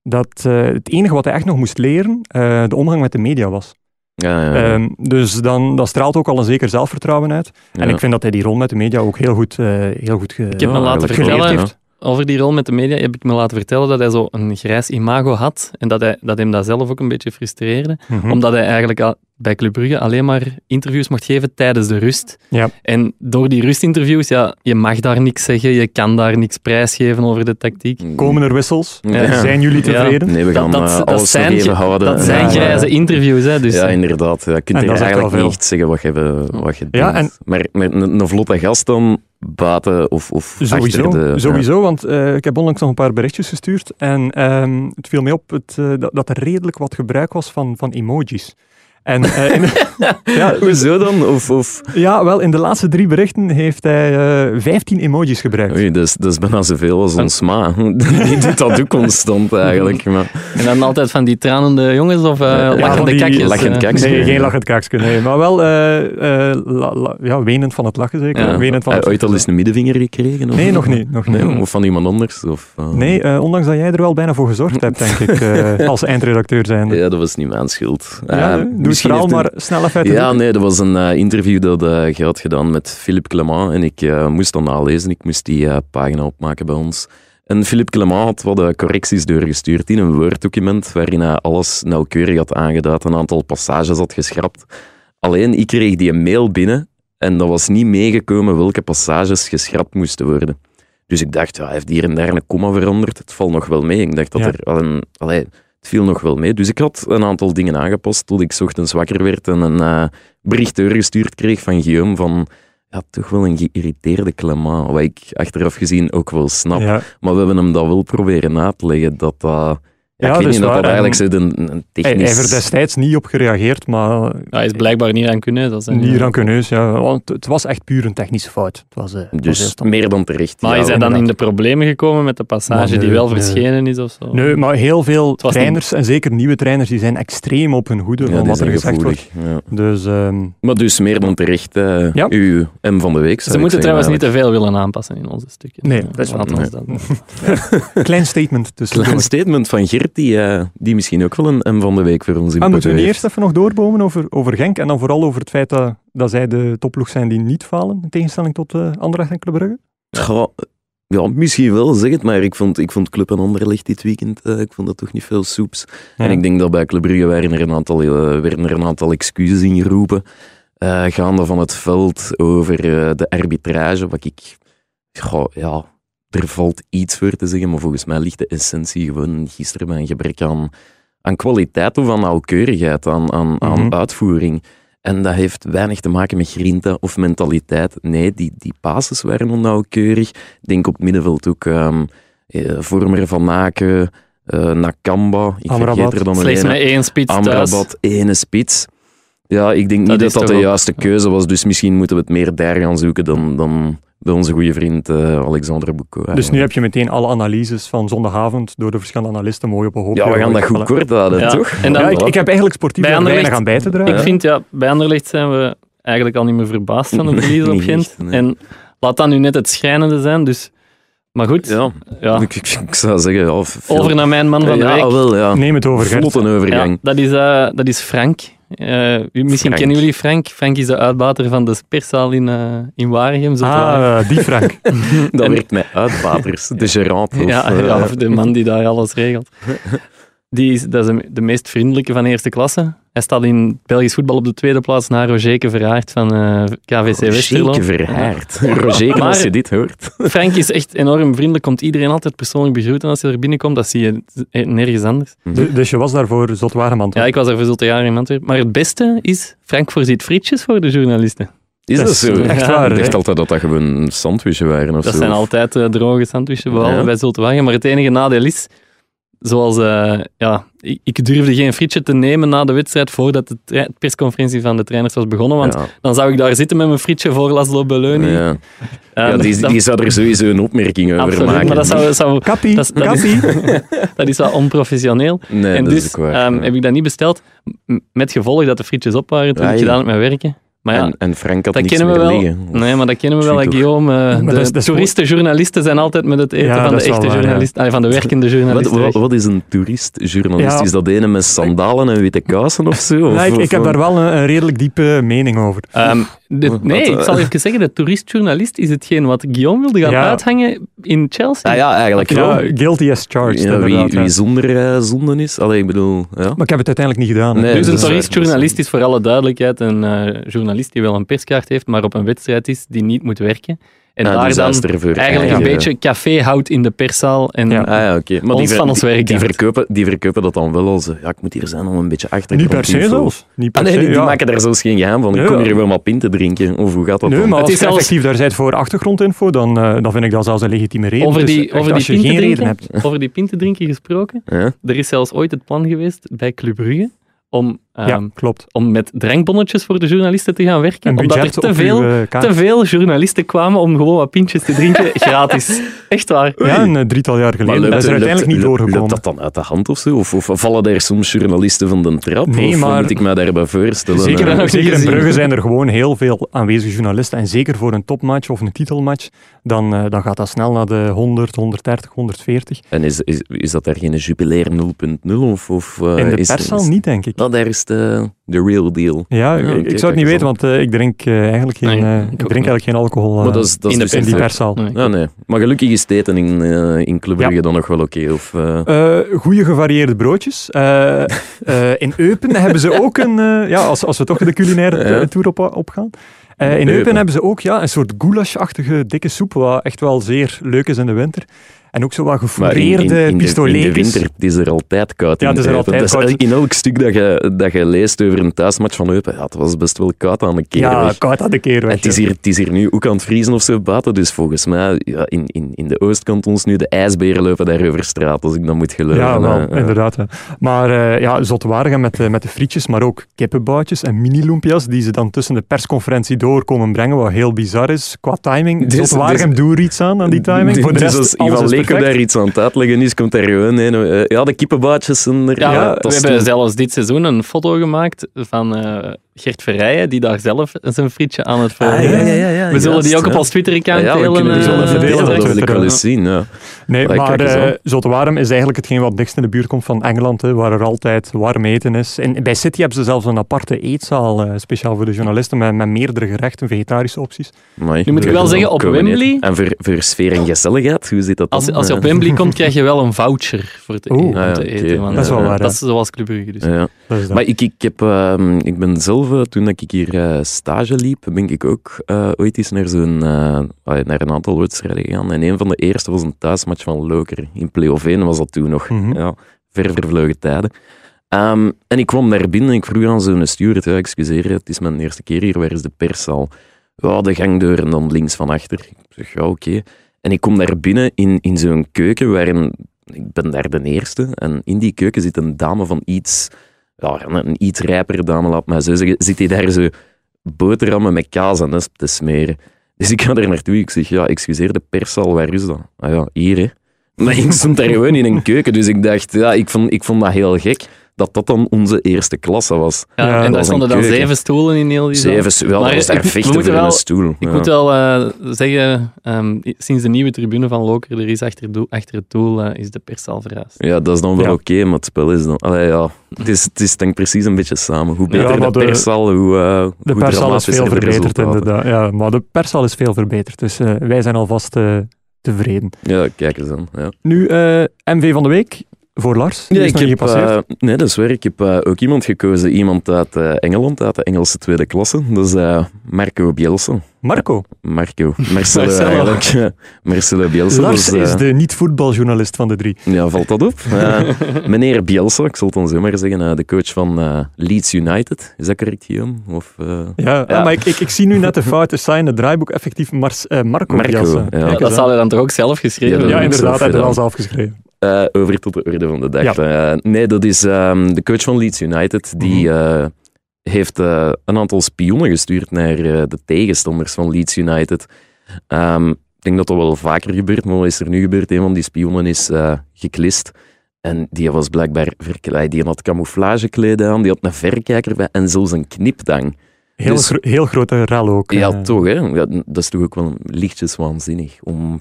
dat eh, het enige wat hij echt nog moest leren eh, de omgang met de media was.
ja, ja, ja.
Ehm, dus dan, dat straalt ook al een zeker zelfvertrouwen uit. En
Ja.
ik vind dat hij die rol met de media ook heel goed, eh, heel goed ge-
heb me laten
geleerd
vertellen-
heeft.
over die rol met de media heb ik me laten vertellen dat hij zo een grijs imago had en dat, hij, dat hem dat zelf ook een beetje frustreerde.
Mhm.
Omdat hij eigenlijk al- bij Club Brugge alleen maar interviews mocht geven tijdens de rust.
Ja.
En door die rustinterviews, ja, je mag daar niks zeggen, je kan daar niks prijsgeven over de tactiek.
Komen er wissels? Eh,
Ja.
Zijn jullie
Ja.
tevreden?
Nee, we
Dat-
gaan
dat-
eh,
dat
alles
zijn
nog even
ge-
houden.
Dat zijn
Ja,
grijze interviews, hè. Dus,
Ja,
eh,
inderdaad. Ja, je kunt
En
er
dat zegt wel
eigenlijk niet
veel.
echt zeggen wat je, wat je
Ja,
denkt. Maar met een, een vlotte gast dan buiten of, of
Sowieso,
achter de...
sowieso want eh, ik heb onlangs nog een paar berichtjes gestuurd en ehm, het viel mij op het, eh, dat, dat er redelijk wat gebruik was van, van emojis. En eh, in-
Ja. Hoezo dan? Of, of...
ja, wel, in de laatste drie berichten heeft hij eh 15 emojis gebruikt.
Oei, dat is, dat is bijna zoveel als ons ma. Die doet dat ook constant eigenlijk. Maar...
En dan altijd van die tranende jongens of eh
van
lachende
die
kakjes.
lachende
eh.
kakjes. Kaksken.
Nee, geen lachend kaksken, nee. Maar wel eh, eh, la- la- ja, wenend van het lachen, zeker.
Ja.
Wenend van
Heb
het
je ooit al eens een middenvinger gekregen? Of...
Nee, nog niet. Nog niet.
Nee, of van iemand anders? Of, eh,
Nee, eh, ondanks dat jij er wel bijna voor gezorgd hebt, denk ik, eh, als eindredacteur zijnde.
Ja, dat was niet mijn schuld.
Ja,
Eh,
nee, doe het
misschien
verhaal
heeft een-
maar snel even uit de
Ja,
doeken.
nee, dat was een eh, interview dat eh, je had gedaan met Philippe Clement. En ik eh, moest dat nalezen. Ik moest die eh, pagina opmaken bij ons. En Philippe Clement had wat eh, correcties doorgestuurd in een Word-document waarin hij alles nauwkeurig had aangeduid, een aantal passages had geschrapt. Alleen, ik kreeg die mail binnen en dat was niet meegekomen welke passages geschrapt moesten worden. Dus ik dacht, ja, hij heeft hier en daar een komma veranderd. Het valt nog wel mee. Ik dacht dat
Ja.
er al een... Allee, het viel nog wel mee. Dus ik had een aantal dingen aangepast tot ik 's ochtends wakker werd en een eh, bericht doorgestuurd kreeg van Guillaume van... Ja, toch wel een geïrriteerde Clement, wat ik achteraf gezien ook wel snap.
Ja.
Maar we hebben hem dat wel proberen na te leggen, dat dat...
Ja,
ja, ik
dat
weet
is
niet dat
waar.
dat eigenlijk
En
zo een, een
Hij,
technisch... Dus
hij heeft er destijds niet op gereageerd, maar
Ja, hij is blijkbaar niet aan kunnen. Dat is een-
niet rancuneus. Ja. Want het was echt puur een technische fout. Het was, eh, het was heel
Dus
standaard.
meer dan terecht.
Maar
ja.
is hij dan in
inderdaad.
de problemen gekomen met de passage
Maar nee,
die wel
nee.
verschenen is of zo?
Nee, maar heel veel
was
trainers, en zeker nieuwe trainers, die zijn extreem op hun hoede
Ja,
van
die
wat er
zijn
gezegd wordt.
gevoelig. Ja.
Dus ehm,
Maar dus meer dan terecht, eh
Ja.
uw M van de week. zou
Ze
ik
moeten
zeggen, eh,
trouwens
eigenlijk.
niet te veel willen aanpassen in onze stukken.
Nee,
Ja,
dat is waar.
laten we ons dat-
klein statement tussen.
Klein statement van Gert, die, eh, die misschien ook wel een M van de week voor ons in
Ah, moeten we
petto
niet
heeft.
eerst even nog doorbomen over, over Genk en dan vooral over het feit dat, dat zij de topploeg zijn die niet falen, in tegenstelling tot eh Anderlecht en Club Brugge?
Goh, Ja, misschien wel, zeg het maar. Ik vond, ik vond Club en Anderlecht dit weekend, eh, ik vond dat toch niet veel soeps. En ik denk dat bij Club Brugge werden er een aantal, eh, werden er een aantal excuses ingeroepen. eh gaande van het veld over eh, de arbitrage, wat ik... Goh, ja, er valt iets voor te zeggen, maar volgens mij ligt de essentie gewoon gisteren bij een gebrek aan, aan kwaliteit of aan nauwkeurigheid, aan, aan, aan
Mhm.
uitvoering. En dat heeft weinig te maken met grinta of mentaliteit. Nee, die, die basis waren onnauwkeurig. Ik denk op het middenveld ook ehm eh, Vormer van Aken, eh, Nakamba. Ik
Amrabat.
vergeet er dan een
Slechts met één spits thuis.
Amrabat, ene spits. Ja, ik denk
Dat
niet
is
dat dat
toch
de
ook-
juiste keuze was. Dus misschien moeten we het meer daar gaan zoeken dan, dan bij onze goede vriend eh Alexander Boeko.
Dus nu heb je meteen alle analyses van zondagavond door de verschillende analisten mooi op een hoop.
Ja, we gaan dat
gegooid.
goed
Voilà.
kort houden,
Ja.
toch?
En dan-
Ja, ik, ik heb eigenlijk sportief
Bij
er
Anderlecht-
weinig aan bij te dragen.
Ik vind, ja, bij Anderlecht zijn we eigenlijk al niet meer verbaasd van de verliezen op
Niet
Gent.
echt, nee.
En laat dat nu net het schijnende zijn, dus... Maar goed,
Ja,
ja.
Ik, ik- ik zou zeggen... Ja, veel-
over naar mijn man van de
ja,
week.
wel, ja.
Neem het over, Gert.
Vlot een
Ja,
overgang.
dat, is, eh, dat is Frank. Eh, u- misschien
Frank.
kennen jullie Frank. Frank is de uitbater van de perszaal in, eh in Waregem. zo te waar.
Ah, eh, die Frank.
Dat
En-
werkt met uitbaters. De gerant. Of,
ja,
eh,
ja, of de man die daar alles regelt. Die is, dat is de- de meest vriendelijke van eerste klasse. Hij staat in Belgisch voetbal op de tweede plaats na Rogerke Verhaert van eh, KVC Westerlo.
Rogerke Verhaert. Rogerke, als
Maar-
je dit hoort.
Frank is echt enorm vriendelijk, komt iedereen altijd persoonlijk begroeten als je er binnenkomt. Dat zie je eh, nergens anders.
Du- dus je was daarvoor Zotwaremant.
Ja, ik was er voor zotte jaren in Antwerpen. Maar het beste is, Frank voorziet frietjes voor de journalisten.
Is dat zo?
Echt
Ja,
waar,
Ik
hè?
dacht altijd dat dat gewoon sandwichen waren of
Dat
zo.
zijn altijd eh, droge sandwiches, behalve
Ja.
bij Zulte Waregem. Maar het enige nadeel is, zoals, eh, ja, ik, ik durfde geen frietje te nemen na de wedstrijd voordat de tra- persconferentie van de trainers was begonnen, want
Ja.
dan zou ik daar zitten met mijn frietje voor Laszlo Belloni.
Ja.
Eh,
ja, die,
dat-
die zou er sowieso een opmerking over
absoluut,
maken.
maar dat, zou, zou,
Kappie,
Dat is- dat is-
kappie.
dat is wel onprofessioneel.
nee,
en
dat
dus
is ook waar.
ehm,
ja.
heb ik dat niet besteld, m- met gevolg dat de frietjes op waren toen
Ja,
ik
Ah, ja.
gedaan heb met werken. Maar ja,
en, en Frank had
dat
niks
kennen we
meer
wel.
liggen.
Nee, maar dat kennen we wel, hè,
Schrik,
Guillaume. Eh,
maar
de
dat is- dat is
toeristenjournalisten zijn altijd met het eten
Ja,
van
dat
de
is wel
echte
waar, ja.
journalisten, allee, van de werkende
Wat,
journalisten.
wat, wat is een toeristjournalist?
Ja.
Is dat ene met sandalen en witte kousen of zo? Of-
Ja, ik,
of-
ik heb daar wel een, een redelijk diepe mening over.
Ehm, De-
Wat,
nee,
eh,
ik zal even zeggen, de toeristjournalist is hetgeen wat Guillaume wilde gaan
Ja.
uithangen in Chelsea.
Ah ja, eigenlijk
Ja,
wel.
guilty as charged.
Ja, wie,
inderdaad, ja.
wie zonder eh, zonden is. Allee, ik bedoel... Ja.
Maar ik heb het uiteindelijk niet gedaan. hè.
Nee,
Dus
dat
een
is waar,
toeristjournalist
dat
is voor alle duidelijkheid een eh, journalist die wel een perskaart heeft, maar op een wedstrijd is die niet moet werken. En
Ah,
daar
dus
dan
dat is er voor
eigenlijk een
eigen-
beetje café houdt in de perszaal. En
Ja.
Ah eh, ja, oké. Maar
Ons
ver-
van ons werk
Die
uit.
verkopen, die verkopen dat dan wel als... eh, Ja, ik moet hier zijn om een beetje achter
Niet per se zelfs. Niet per
Ah, nee,
se,
die, die
ja.
maken daar zelfs geen geheim van. Ik
Nee,
kom
ja.
hier wel maar pinten drinken. Of hoe gaat dat
Nee,
dan?
maar als
is
je
zelfs-
effectief daar bent voor achtergrondinfo, dan, eh, dan vind ik dat zelfs een legitieme reden.
over
Dus
die,
echt,
over,
als
die
je
pint te
geen reden
drinken,
hebt.
over die pint te drinken gesproken,
Ja?
er is zelfs ooit het plan geweest bij Club Brugge om, ehm,
ja, klopt.
om met drankbonnetjes voor de journalisten te gaan werken,
Een
omdat er
budget
te
op
veel,
uw eh, kaart.
te veel journalisten kwamen om gewoon wat pintjes te drinken, gratis. Echt waar.
Ja, een eh, drietal jaar geleden.
lukt-
dat is er
lukt-
uiteindelijk niet
lukt- Lukt
doorgekomen.
dat dan uit de hand of zo? Of, of vallen daar soms journalisten van de trap?
Nee,
of
maar-
moet ik mij daarbij voorstellen?
Zeker,
Eh,
nog niet
zeker in
gezien.
Brugge zijn er gewoon heel veel aanwezige journalisten. En zeker voor een topmatch of een titelmatch, dan, eh, dan gaat dat snel naar de 100, 130, 140.
En is, is, is dat daar geen jubilair 0.0? Of, of, eh,
In de
is-
perszaal
is-
niet, denk ik.
Nou, daar is de, de real deal.
Ja,
Ja,
ik, ik
oké,
zou het
kijk
niet
eens
weten,
aan.
want eh, ik drink eh, eigenlijk geen,
Nee,
eh,
ik ook
ik drink eigenlijk geen alcohol eh,
Maar dat is, dat is
in de
dus
in die
niet-
perszaal.
Nee.
Ah, nee. Maar gelukkig is het eten in, eh in Club
Ja.
Brugge dan nog wel oké. of, eh,
Eh goede gevarieerde broodjes. Eh, eh, in Eupen hebben ze ook een... eh, ja, als, als we toch de culinaire
Ja.
eh, tour op, opgaan. Eh, in Eupen.
Eupen.
hebben ze ook ja, een soort goulash-achtige dikke soep, wat echt wel zeer leuk is in de winter. En ook zo wat
maar in, in, in, de,
gefoureerde
in de
pistoletjes.
winter het is er altijd koud.
Ja,
in
het is er
Eupen.
altijd
Dat
koud.
In elk stuk dat je, dat je leest over een thuismatch van Eupen, ja, het was best wel koud aan de keer.
Ja,
weg.
koud aan de keer
En
weg.
het, is
ja.
hier, het is hier nu ook aan het vriezen of zo buiten, dus volgens mij ja, in, in, in de oostkantons nu de ijsberen lopen daar over straat, als ik dan moet geloven.
Ja, wel,
Eh, eh.
inderdaad. hè. Maar eh ja, zotwaardig met, eh, met de frietjes, maar ook kippenboutjes en mini-lumpia's die ze dan tussen de persconferentie door komen brengen, wat heel bizar is qua timing.
Dus-
Dus, Zotwaardig
dus-
doe er iets aan, aan die timing. Voor de
dus
rest,
als
alles
Ivan
is
Leko
perfect.
daar iets aan het uitleggen is, komt daar gewoon een, eh, ja, de kippenbaatjes en er,
Ja,
ja, dat
we
is
hebben
toen-
zelfs dit seizoen een foto gemaakt van eh, Gert Verrijen, die daar zelf zijn frietje aan het
Ah,
verrijden
ja,
is.
ja, ja, ja,
We zullen
juist,
die ook op
ja.
ons
Ja,
Twitter-account
ja, we
delen.
kunnen die
eh,
zo
eh,
even delen,
delen
dat wil ik wel
Ja.
eens zien. Ja.
Nee,
Allee,
maar
kijk eens
eh,
aan.
Zotwaardig is eigenlijk hetgeen wat het dichtst in de buurt komt van Engeland, hè, waar er altijd warm eten is. En bij City hebben ze zelfs een aparte eetzaal, eh, speciaal voor de journalisten, met, met meerdere gerechten, vegetarische opties.
Amai,
Nu moet ik wel
eh,
zeggen, op
komen eten.
Wembley-
En voor, voor sfeer en gezelligheid, hoe zit dat dan?
Als, als je op
Eh,
Wembley komt, krijg je wel een voucher voor het
Oeh.
eten.
Ah, ja,
om te
oké.
eten want,
Dat is wel
eh,
waar,
Dat
hè.
is zoals Club Brugge dus.
ja.
Dat is dat.
Maar ik, ik, heb, ehm, ik ben zelf, eh, toen dat ik hier eh, stage liep, ben ik ook eh, ooit eens naar, zo'n, eh, allee, naar een aantal wedstrijden gegaan. En een van de eerste was een thuismatch van Loker. In play-off 1 was dat toen nog.
Mhm.
Ja, ver vervlogen tijden. Ehm, en ik kwam daar binnen en ik vroeg aan zo'n steward, ja, excuseer, het is mijn eerste keer hier, waar is de perszaal? Ja, de gangdeur en dan links van achter. Ik zeg, ja, oké. En ik kom daar binnen in, in zo'n keuken waarin... Ik ben daar de eerste. En in die keuken zit een dame van iets... Ja, een iets rijpere dame, laat maar zo zeggen. Zit die daar zo boterhammen met kaas en nesp te smeren. Dus ik ga daar naartoe. Ik zeg, ja, excuseer, de perszaal, waar is dat? Ah ja, hier, hè. Maar ik stond daar gewoon in een keuken. Dus ik dacht, ja, ik vond, ik vond dat heel gek. Dat dat dan onze eerste klasse was.
Ja,
Ja, dat
en
is
daar
een
stonden dan
keuken.
zeven stoelen in heel die zaal.
Zeven, wel,
Maar
dat was daar
ik- we
vechten
moeten
voor
wel-
een stoel.
Ik
ja.
moet wel eh, zeggen, ehm, sinds de nieuwe tribune van Loker er is achter, doel- achter het doel, eh, is de pers al verhuisd.
Ja, dat is dan wel
Ja.
oké, maar het spel is dan... Allee, ja, het is, het is denk ik precies een beetje samen. Hoe
Ja,
beter
maar
de
de-
perszaal, hoe, eh
De
hoe
persal is
dramatischer
veel
de
verbeterd,
resultaten.
inderdaad. Ja, maar de persal is veel verbeterd, dus eh, wij zijn alvast eh, tevreden.
Ja, kijk eens aan. Ja.
Nu, eh, MV van de week voor Lars. Die
Ja,
is nog niet gepasseerd.
eh, nee, dat is waar. Ik heb eh, ook iemand gekozen. Iemand uit eh, Engeland, uit de Engelse tweede klasse. Dat is eh, Marco Bielsen.
Marco,
Marco. Marcelo,
Marcelo.
eigenlijk. ja. Marcelo Bielsen.
Lars
dat
is
eh,
de niet-voetbaljournalist van de drie.
Ja, valt dat op? Eh, meneer Bielsa, ik zal het dan zo maar zeggen, eh, de coach van eh, Leeds United. Is dat correct, Guillaume? Of, eh,
Ja, ah,
Ja.
maar ik, ik, ik zie nu net de fouten staan in het draaiboek. Effectief Mars, eh, Marco.
Marco,
Bielsa.
ja.
Kijk
Ja,
eens
dat
aan.
zal hij dan toch ook zelf geschreven
Ja,
ja,
hebben?
dat
inderdaad,
zelf
hij heeft het
gedaan.
al zelf geschreven.
eh, over tot de orde van de dag.
Ja.
Eh, nee, dat is ehm, de coach van Leeds United. Die eh, heeft eh, een aantal spionnen gestuurd naar eh, de tegenstanders van Leeds United. Ehm, ik denk dat dat wel vaker gebeurt, maar wat is er nu gebeurd? Een van die spionnen is eh, geklist. En die was blijkbaar verkleed. Die had camouflagekleden aan, die had een verrekijker bij en zelfs een kniptang.
Heel,
Dus-
gro- heel grote rel ook.
Ja,
eh.
toch, hè? Ja, dat is toch ook wel lichtjes waanzinnig om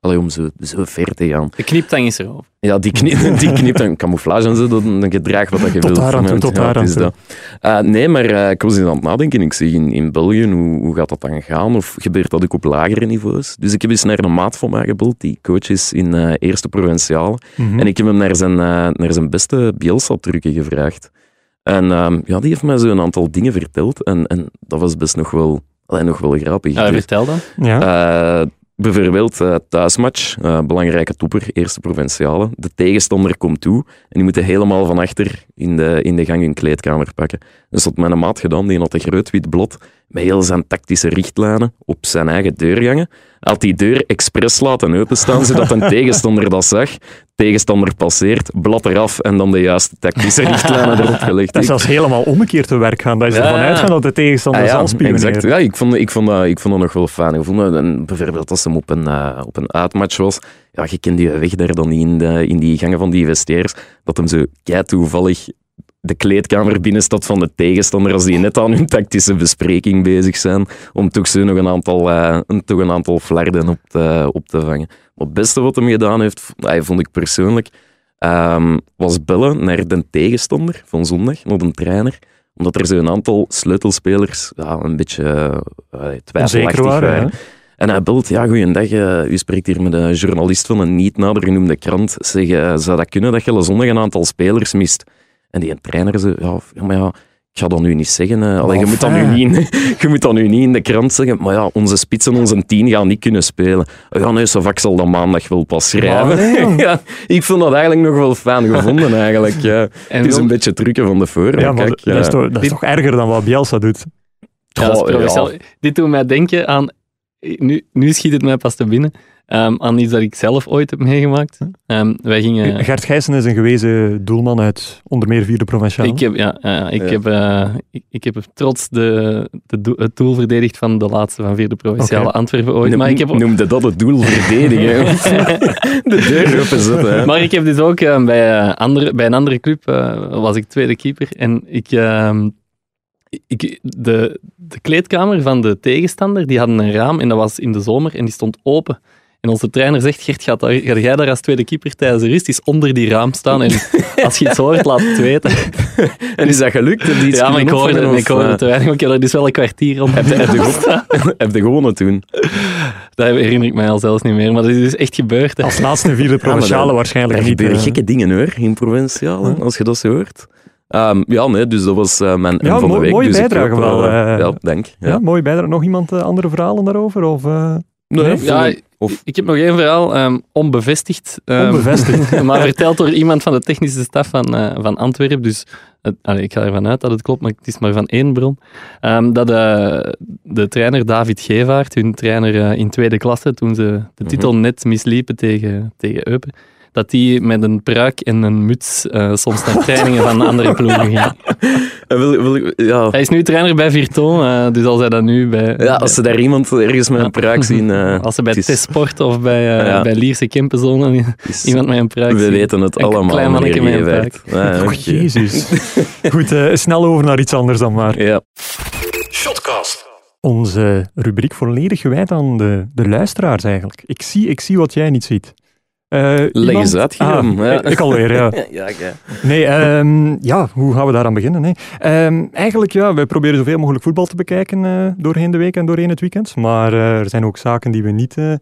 Allee, om zo, zo ver te gaan.
Dus De kniptang is erop.
Ja, die knipt, die knipt een camouflage en zo, dat een gedrag wat dat je
Tot
wilt.
daar aan toe,
Ja,
tot daar
het
aan
is
toe.
dat. Eh, nee, maar eh, ik was eens aan het nadenken. Ik zeg, in, in België, hoe, hoe gaat dat dan gaan? Of gebeurt dat ook op lagere niveaus? Dus ik heb eens naar een maat van mij gebeld, die coach is in eh, Eerste Provinciaal.
Mhm.
En ik heb hem naar zijn, eh, naar zijn beste Bielsa-trucken gevraagd. En ehm, ja, die heeft mij zo een aantal dingen verteld. En, en dat was best nog wel, allee, nog wel grappig.
Ja,
Dus-
vertel dan.
ja.
eh, bijvoorbeeld eh, thuismatch, eh, belangrijke topper, eerste provinciale. De tegenstander komt toe en die moeten helemaal van achter in de, in de gang hun kleedkamer pakken. Dus dat had mijn maat gedaan, die had een groot-wit blad met heel zijn tactische richtlijnen op zijn eigen deurgangen. Hij Had die deur expres laten openstaan, zodat een tegenstander dat zag. Tegenstander passeert, blad eraf en dan de juiste tactische richtlijnen erop gelegd.
dat is
Ik-
zelfs helemaal omgekeerd te werk gaan. Dat is
Ja,
ervan
ja.
uitgaan dat de tegenstander
Ah, ja,
zal spelen.
exact. Ja, ik vond, ik, vond dat, ik vond dat nog wel fijn. Ik vond dat, en bijvoorbeeld als hem op een, eh, op een uitmatch was, ja, je kende je weg daar dan in, de, in die gangen van die investeerders, dat hem zo kei toevallig de kleedkamer binnenstaat van de tegenstander als die net aan hun tactische bespreking bezig zijn, om toch zo nog een aantal, eh, een, toch een aantal flarden op te, op te vangen. Maar het beste wat hem gedaan heeft, v- ah, vond ik persoonlijk, ehm, was bellen naar de tegenstander van zondag, naar de trainer, omdat er zo'n aantal sleutelspelers ja, een beetje eh, twijfelachtig
Zeker waar,
waren.
ja.
En hij belt, ja, goeiedag, eh, u spreekt hier met een journalist van een niet nader genoemde krant. Zeg, eh, zou dat kunnen dat je zondag een aantal spelers mist? En die trainer zei, ja, f- ja, maar ja, ik ga dat nu niet zeggen. eh. Allee, je,
Maar
moet dat nu
fijn.
niet, in- je moet dat nu niet in de krant zeggen. Maar ja, onze spits en onze tien gaan niet kunnen spelen. Ja, nee, zo vak zal dat maandag wel pas schrijven.
Allee, jong.
ja, ik vond dat eigenlijk nog wel fijn gevonden, eigenlijk. ja.
En
Het is
wil-
een beetje trucken van de voor.
Ja, maar
kijk, eh,
dat,
ja.
is toch, dat is
Dit-
toch erger dan wat Bielsa doet.
Ja, dat is
Goh, Oh, ja.
provinciaal. Dit doet mij denken aan... Nu, nu schiet het mij pas te binnen. ehm, aan iets dat ik zelf ooit heb meegemaakt. Ehm, wij gingen...
Gert Gijssen is een gewezen doelman uit onder meer vierde provinciaal.
Ik heb, ja, ja, ik,
Ja.
Heb, eh, ik, ik heb trots de, de doel- het doel verdedigd van de laatste van vierde provinciale
Oké.
Antwerpen ooit.
Noem-
maar, ik heb, ook-
Noemde dat het doel verdedigen? de deur openzetten. hè.
maar ik heb dus ook eh, bij, eh, andere, bij een andere club eh, was ik tweede keeper. En ik, ehm, ik, de, de kleedkamer van de tegenstander, die hadden een raam en dat was in de zomer en die stond open. En onze trainer zegt, Gert, gaat daar- ga jij daar als tweede keeper tijdens de rust eens onder die raam staan en als je iets hoort, laat het weten.
En is dat gelukt? Heb je iets
Ja, maar ik
kunnen
hoorde,
opvangen,
ik
of,
hoorde
eh,
te weinig, maar ik heb er dus wel een kwartier om.
Heb je, gewonnen? heb je gewonnen toen?
Dat herinner ik mij al zelfs niet meer, maar dat is dus echt gebeurd. hè.
Als laatste in vierde provinciale
dat-
waarschijnlijk
Er
niet.
gebeuren
eh.
gekke dingen hoor, in provinciale, als je dat zo hoort. Ehm, ja, nee, dus dat was eh, mijn
Ja,
M van
mooi-
de week.
mooie
dus ik
bijdrage
hoop, eh,
wel, eh.
ja, dank. Ja.
ja. mooi. Bijdrage. Nog iemand eh, andere verhalen daarover? Of, eh,
Nee,
Ja,
of-
ik heb nog één verhaal, ehm, onbevestigd. ehm,
Onbevestigd.
maar verteld door iemand van de technische staf van, eh, van Antwerpen. Dus het- allee, ik ga ervan uit dat het klopt, maar het is maar van één bron. Ehm, dat eh, de trainer David Gevaert, hun trainer eh, in tweede klasse, toen ze de
Mhm.
titel net misliepen tegen, tegen Eupen, dat die met een pruik en een muts eh, soms naar trainingen van andere ploegen ging.
Eh, wil, wil, ik- ja.
Hij is nu trainer bij Virton, eh, dus als hij dat nu bij...
ja, als ze daar iemand ergens met een pruik zien... eh,
Als ze bij
het is-
T-Sport of bij, eh,
Ja.
bij Lierse Kimpenzone
is-
iemand met een pruik
We
zien.
weten het
Een
allemaal,
klein manneke
meneer
met een
Gevaert. Ja,
oh,
oké.
jezus. Goed, eh, snel over naar iets anders dan maar.
Ja.
Shotcast.
Onze rubriek volledig gewijd aan de, de luisteraars eigenlijk. Ik zie, ik zie wat jij niet ziet. Eh, iemand-
eens uit, Guillaume.
Ah,
Ja.
Ik alweer, ja.
Ja, ja.
Nee, ehm, ja, hoe gaan we daaraan beginnen? Hè? Ehm, eigenlijk, ja, wij proberen zoveel mogelijk voetbal te bekijken eh, doorheen de week en doorheen het weekend. Maar eh, er zijn ook zaken die we niet eh,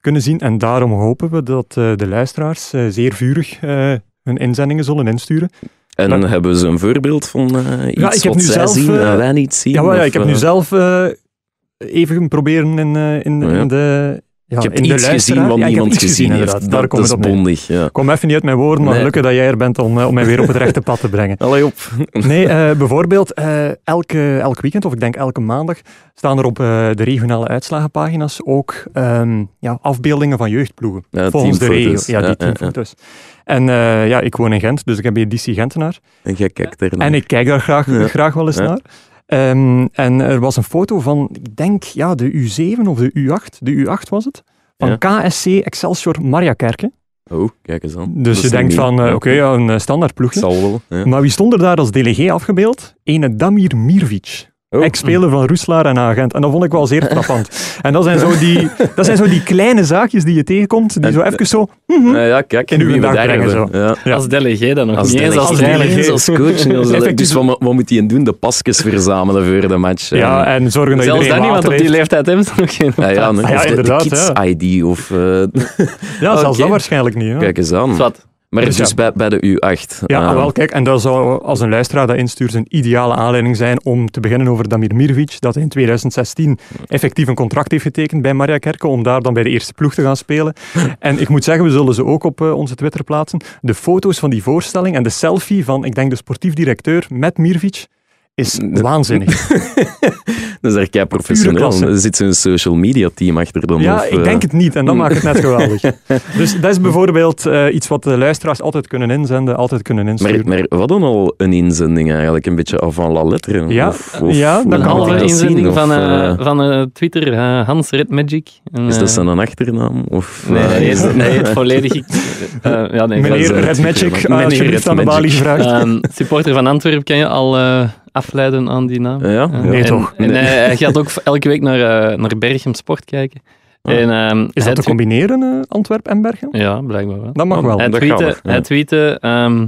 kunnen zien. En daarom hopen we dat eh, de luisteraars eh, zeer vurig eh, hun inzendingen zullen insturen.
En
Maar-
hebben ze een voorbeeld van eh, iets
ik heb
wat
nu
zij
zelf,
zien
eh,
en wij niet zien?
Ja, maar, ja,
of,
ik heb nu
eh,
zelf eh, even proberen in, eh, in,
Oh Ja.
in de... Ja,
ik heb
in de
iets gezien
luisteraar- ja,
wat
ik heb iets
niemand gezien heeft.
inderdaad. Daar
Dat,
komt
dat
het
is
op neer.
bondig, ja.
Ik kwam even niet uit mijn woorden, maar
Nee.
gelukkig dat jij er bent om, eh, om mij weer op het rechte pad te brengen.
Allee, op.
Nee, eh, bijvoorbeeld eh, elke, elk weekend, of ik denk elke maandag, staan er op eh, de regionale uitslagenpagina's ook ehm, ja, afbeeldingen van jeugdploegen.
Ja,
volgens de
teamfoto's.
regio. Ja, die
Ja, ja, ja.
teamfoto's. En eh, ja, ik woon in Gent, dus ik heb hier DC Gentenaar.
En jij kijkt ernaar.
En ik kijk daar graag,
Ja.
graag wel eens
Ja.
naar. Ehm, en er was een foto van, ik denk, ja, de U7 of de U8. De U8 was het. Van KSC Excelsior Mariakerke.
Oh, kijk eens aan.
Dus
Dat
je
is
denkt
niet-
van, eh,
ja.
oké, ja, een standaard
Het
ploegje.
zal wel. Ja.
Maar wie stond er daar als delegé afgebeeld? Ene Damir Mirvic.
Oh.
Ex-speler van Roeslaar en agent. En dat vond ik wel zeer frappant. En dat zijn, zo die, dat zijn zo die kleine zaakjes die je tegenkomt, die zo even zo...
Oh. Ja, ja, kijk,
In uw
wie we
dag
daar
brengen,
hebben. Ja.
Ja.
Als delegé dan nog
Als
niet eens
delegé.
als
Als
trainer.
delegé.
als coach. en als-
Effectief.
Dus wat, mo- wat moet hij doen? De pasjes verzamelen voor de match. eh.
Ja, en zorgen dat
Zelfs dat
iedereen
niet, want
water
op die
heeft.
leeftijd hebben ze nog geen...
ja, ja,
paas.
nee,
Ah ja,
of de- de,
inderdaad,
kids
ja.
ID of... eh,
Ja, zelfs
Oké.
dat waarschijnlijk niet. Ja.
Kijk eens aan.
Zwat.
Maar
Dus
dus,
ja.
bij, bij de U8.
Ja,
eh,
wel, kijk, en dat zou als een luisteraar dat instuurt een ideale aanleiding zijn om te beginnen over Damir Mirvic, dat in 2016 effectief een contract heeft getekend bij Maria Kerken om daar dan bij de eerste ploeg te gaan spelen. En ik moet zeggen, we zullen ze ook op eh, onze Twitter plaatsen. De foto's van die voorstelling en de selfie van, ik denk, de sportief directeur met Mirvic is
De-
waanzinnig.
Dat is echt
Pure
professioneel.
klasse.
Er zit zo'n social media team achter dan.
Ja,
of,
ik
eh,
denk het niet en dat maakt het net geweldig. Dus dat is bijvoorbeeld eh, iets wat de luisteraars altijd kunnen inzenden, altijd kunnen insturen.
Maar, maar wat dan al een inzending eigenlijk? Een beetje avant la lettre?
Ja,
of, of,
ja,
hoe
dat
Een
kan wel.
laat
halve
ik dat
inzending
zien? Of,
van, eh,
eh,
van eh, Twitter, eh, Hans Red Magic. En,
is
eh,
dat zijn achternaam? Of,
Nee,
eh,
nee,
is dat-
nee, het volledig. ik- eh, ja, nee,
Meneer
dat is-
Red Magic, eh,
Meneer
alsjeblieft
Red
aan de
Magic.
balie gevraagd.
Ehm, supporter van Antwerpen kan je al eh, afleiden aan die naam.
Ja?
Eh,
Nee,
en-
toch?
En,
Nee.
eh, hij gaat ook elke week naar, eh, naar Berchem Sport kijken.
Ah.
En, ehm,
Is dat
hij
te
twi-
combineren, eh, Antwerpen en Bergen?
Ja, blijkbaar wel.
Dat mag wel.
Hij
Nou, dat gaat
tweette,
nog, ja.
hij tweette ehm,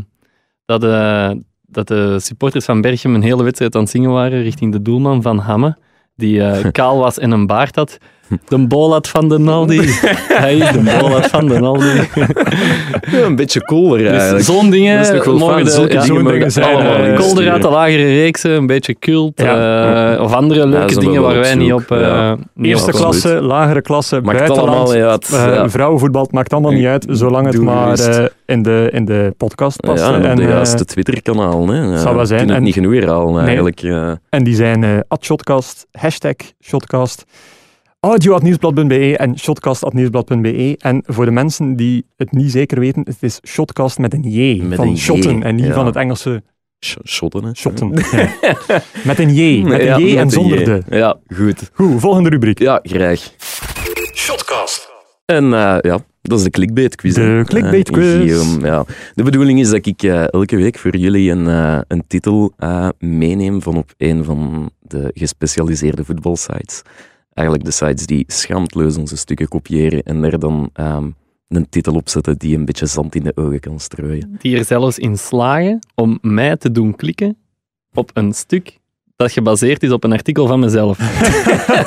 dat, eh, dat de supporters van Berchem een hele wedstrijd aan het zingen waren richting de doelman van Hamme, die eh, kaal was en een baard had. De bolat van de Naldi. Hij is de bolat van de Naldi.
Ja, een beetje cooler
Dus
eigenlijk.
zo'n dingen
Dat is toch wel
mogen
fijn.
de,
Zulke
ja,
zo'n
dingen mogen
dingen zijn,
allemaal
eh,
eh,
insturen.
kolder uit de lagere reeksen, een beetje cult,
Ja.
eh, of andere leuke
zijn we
dingen
wel
waar
op
wij niet
zoek,
op... eh,
ja.
niet
Eerste
op-
absoluut.
klasse, lagere klasse,
Maakt het
buitenland.
allemaal niet uit.
eh,
ja.
Vrouwenvoetbal, het maakt allemaal niet uit, zolang het
Doe
maar
gerust.
eh, in, de, in de podcast past.
Ja, en op
en,
de
eh,
juiste Twitter-kanaal. hè. Ja,
zal wel
we
zijn.
kunnen
En-
het niet genoeg herhalen
Nee.
eigenlijk. eh.
en die zijn eh, @shotcast, hashtag shotcast, audio.nieuwsblad.be E en shotcast.nieuwsblad.be. E. En voor de mensen die het niet zeker weten, het is shotcast met een J.
Met
van
een J,
shotten en niet
ja.
van het Engelse
Sh- Shotten, hè.
shotten. Ja. Met een J. Met
Ja,
een J
met
en
een
zonder
J.
de.
Ja, goed.
Goed, volgende rubriek.
Ja, graag.
Shotcast.
En eh, ja, dat is de clickbait quiz. hè.
De clickbait
Eh,
quiz.
Guillaume, ja. De bedoeling is dat ik eh, elke week voor jullie een, eh, een titel eh, meeneem van op een van de gespecialiseerde voetbalsites. Eigenlijk de sites die schaamteloos onze stukken kopiëren en er dan ehm, een titel op zetten die een beetje zand in de ogen kan strooien.
die er zelfs in slagen om mij te doen klikken op een stuk dat gebaseerd is op een artikel van mezelf.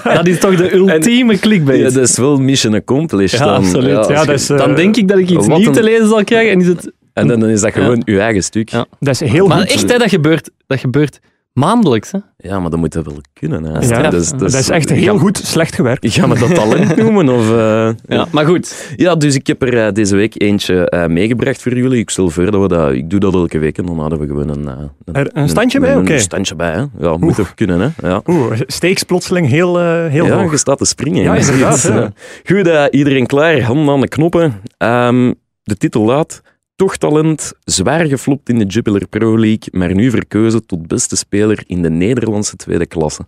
dat is toch de ultieme clickbait.
Ja, dat is wel mission accomplished.
Ja,
dan.
absoluut.
als
Ja,
je-
dat is, eh,
dan denk ik dat ik iets
wat
nieuws
een-
te lezen zal krijgen en is het...
En dan dan is dat
Ja.
gewoon uw eigen stuk.
Ja.
Ja,
Dat is heel
Maar
goed.
echt, hè, dat, gebeurt, dat gebeurt maandelijks. Hè?
maar dat moet dat wel kunnen. hè.
Ja.
Dat, is,
Dat is echt heel goed, slecht gewerkt.
Gaan we dat talent noemen? Of, eh,
Ja, maar goed,
Ja, dus ik heb er eh, deze week eentje eh, meegebracht voor jullie. Ik stel voor dat we dat... Ik doe dat elke week en dan hadden we gewoon een... eh, een
Er een standje bij?
Een,
Oké.
een standje bij, hè. Ja, moet toch kunnen, hè. Ja.
Oeh, steeks plotseling heel, eh, heel
ja,
hoog.
je staat te springen.
Ja,
hè.
inderdaad,
Dus, eh,
ja.
Goed, eh, iedereen klaar. Handen aan de knoppen. Ehm, de titel luidt... Toch talent, zwaar geflopt in de Jupiler Pro League, maar nu verkozen tot beste speler in de Nederlandse tweede klasse.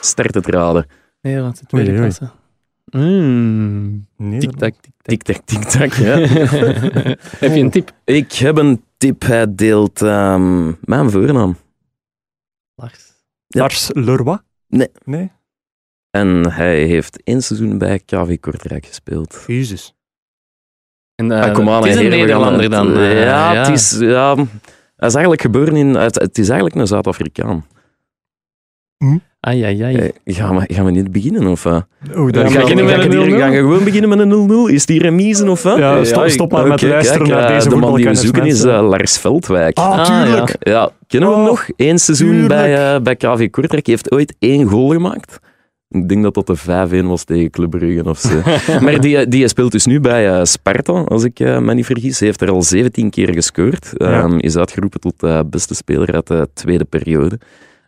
Start het raden.
Nederlandse tweede
Oei, oei.
klasse. Mm,
Nee,
tik-tak, tik-tak.
Tik-tak, tik-tak. Hmm. Ja.
Heb je een tip?
Ik heb een tip. Hij deelt ehm, mijn voornaam.
Lars.
Ja.
Lars Leroy?
Nee.
Nee?
En hij heeft één seizoen bij KV Kortrijk gespeeld.
Jezus.
En, eh,
Ah, kom aan,
het is
hè,
een
heren, we gaan
Nederlander
het-
dan. eh,
ja, Het is, ja, hij is eigenlijk geboren in... Het, het is eigenlijk een Zuid-Afrikaan.
Ai, ai, ai.
Eh, Gaan we, gaan we niet beginnen, of wat?
Oeh,
Ja,
daar
maar
ga
ga
ik,
je
beginnen
niet
met
ga ik
meer
een
hier-
in.
0-0?
gaan we gewoon beginnen met een 0-0? Is die remise, of wat?
Ja, stop-
ik-
stop maar
oké,
met luisteren naar
eh,
deze
De man die we
voetbalkennis,
zoeken is
mensen.
eh, Lars Veldwijk.
Ah,
Ah,
tuurlijk.
Ja, kennen we hem
Oh,
nog? Eén seizoen
tuurlijk.
bij, eh, bij KV Kortrijk. Hij heeft ooit één goal gemaakt. Ik denk dat dat de 5-1 was tegen Club Brugge of zo. maar die, die speelt dus nu bij eh, Sparta, als ik eh, me niet vergis. Hij heeft er al 17 keer gescoord. Ehm, Is uitgeroepen tot eh, beste speler uit de tweede periode.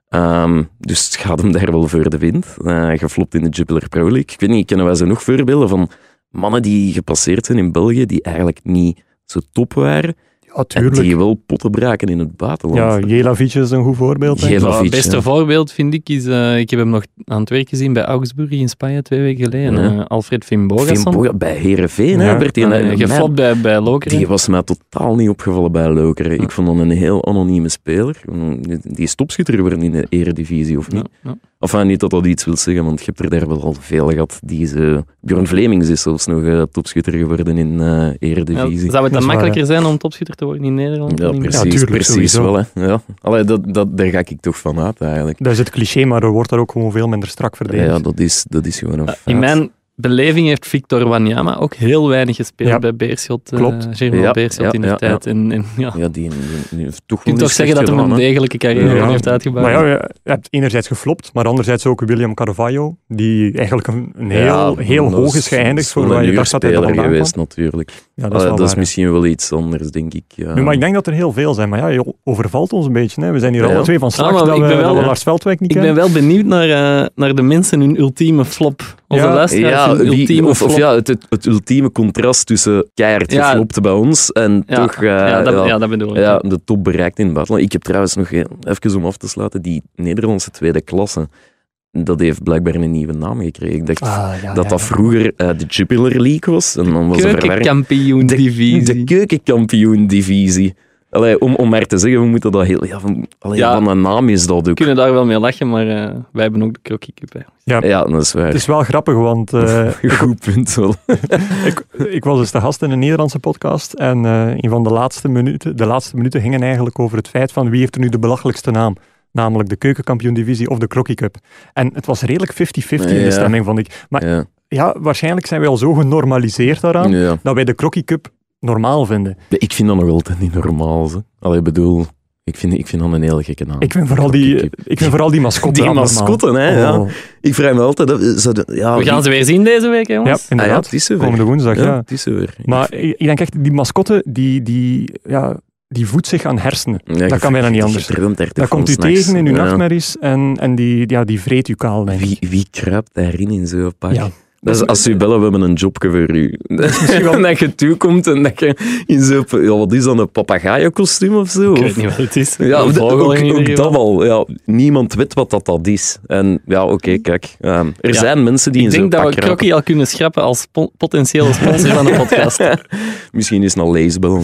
Ehm, dus het gaat hem daar wel voor de wind. Eh, geflopt in de Jupiler Pro League. Ik weet niet, kennen wij zo nog voorbeelden van mannen die gepasseerd zijn in België, die eigenlijk niet zo top waren, En
natuurlijk.
die wil potten braken in het
Ja,
buitenland.
Jelavic is een goed voorbeeld. denk ik.
Jelavic.
Maar het
fiets,
beste
ja.
voorbeeld vind ik is, eh, ik heb hem nog aan het werk gezien bij Augsburg in Spanje twee weken geleden.
Ja.
eh, Alfred
Finn
Fimbogasson.
Boga- bij Herenveen
Ja.
werd hij
Uh, geflopt bij, bij Lokeren.
Die was mij totaal niet opgevallen bij Lokeren.
Ja.
Ik vond hem een heel anonieme speler. Mm, die- Die is topschutter worden in de eredivisie, of niet?
Ja, ja.
Enfin, niet dat dat iets wil zeggen, want je hebt er daar wel al veel gehad. Deze... Björn Vlemings is zelfs nog eh, topschutter geworden in eh eredivisie.
Zou
Dat
het dan
is
makkelijker zijn om topschutter te worden in Nederland?
Ja,
dan in
precies,
België?
tuurlijk,
precies
sowieso.
wel. Hè. Ja. Allee, dat, dat, daar ga ik toch van uit, eigenlijk.
Dat is het cliché, maar er wordt daar ook gewoon veel minder strak verdedigd.
Ja, dat is, dat is gewoon een
Ja,
feit.
in mijn beleving heeft Victor Wanyama ook heel weinig gespeeld
Ja.
bij Beerschot. eh,
Klopt.
Germain
Ja,
Beerschot
ja,
in de
ja,
tijd. En, en, ja.
Ja, die, die, die heeft toch
Je kunt toch
wel niet
zeggen dat
slecht
hij een
gedaan, hè.
degelijke carrière
Ja.
heeft uitgebouwd.
Maar ja, je hebt enerzijds geflopt, maar anderzijds ook William Carvalho, die eigenlijk een, een heel,
Ja,
heel
dat
hoog is geëindigd voor
wel
waar
een
je dacht dat hij daar
huurspeler
vandaan kwam.
geweest, natuurlijk.
Ja,
Allee,
wel
dat is
waar, ja.
misschien wel iets anders, denk ik. ja.
Nu, maar ik denk dat er heel veel zijn, maar ja, je overvalt ons een beetje. Hè. We zijn hier
Ja, ja.
alle twee van slag
Ah, maar
dat,
ik
we,
ben wel-
dat we Lars Veldwijk niet
Ik ben
kennen.
wel benieuwd naar, eh, naar de mensen hun ultieme flop. Onze
Ja.
luisteraars
ja,
hun
wie-
ultieme
of,
flop.
of ja, het, het, het ultieme contrast tussen keihard
Ja.
geflopt bij ons en
Ja,
toch eh,
ja, dat,
ja,
ja, dat bedoel ik.
ja, de top bereikt in het buitenland. Ik heb trouwens nog heel- even om af te sluiten, die Nederlandse tweede klasse, dat heeft blijkbaar een nieuwe naam gekregen. Ik dacht
Ah, ja,
dat
ja,
dat
ja.
vroeger eh, de Jupiler League was en dan was het verwerkt.
Keukenkampioen
De
divisie.
keukenkampioen-divisie. Allee, om, om maar te zeggen, we moeten dat heel... Ja, van, allee,
Ja.
van een naam is dat ook.
We kunnen daar wel mee lachen, maar eh, wij hebben ook de Crocky Cup. hè.
Ja, dat is waar.
Het is wel grappig, want eh,
Goed punt wel.
ik was dus de gast in een Nederlandse podcast en eh, een van de laatste, minuten, de laatste minuten gingen eigenlijk over het feit van wie heeft er nu de belachelijkste naam. Namelijk de keukenkampioen-divisie of de Crocky Cup. En het was redelijk 50-50 in
Ja.
de stemming, vond ik. Maar
Ja.
ja, waarschijnlijk zijn wij al zo genormaliseerd daaraan,
Ja.
dat wij de Crocky Cup normaal vinden.
Ik vind dat nog altijd niet normaal. Ze. Allee, ik bedoel, ik vind, ik vind dat een hele gekke naam.
Ik vind vooral die,
Kip.
ik vind vooral die mascotte
Die
allemaal.
mascotten, hè. Ja.
Oh.
Ik vraag me altijd af... eh, zouden- ja,
We gaan ze weer zien deze week, hè,
Ja,
jongens.
ah, ja,
inderdaad.
het is zover.
Komende woensdag, ja.
Ja, het is zover.
Maar ik, ik denk echt, die mascotte, die, die, ja, die voedt zich aan hersenen.
Ja, je
dat kan bijna niet
je
anders.
verdient daar te
Daar
veel
komt u
s'nachts.
tegen in uw
Ja.
nachtmerries en, en die, ja, die vreet u kaal, denk ik.
Wie, wie kruipt daarin in zo'n pak?
Ja.
Dat is, als u bellen, we hebben een jobje voor u.
wel-
dat je toekomt en dat je in zo'n... Ja, wat is dan, een papagaaienkostuum of zo?
Ik
Of-
weet niet wat het is.
Ja,
Een
d-
vogel
ook,
in ieder
ook
geval.
dat al. Ja, niemand weet wat dat, dat is. En ja, oké, kijk. ehm, er
Ja,
zijn mensen die
Ik
in zo'n
denk dat
pak
we Crocky al kunnen schrappen als spo- potentiële sponsor van de podcast.
raken. Misschien is het een leesbel.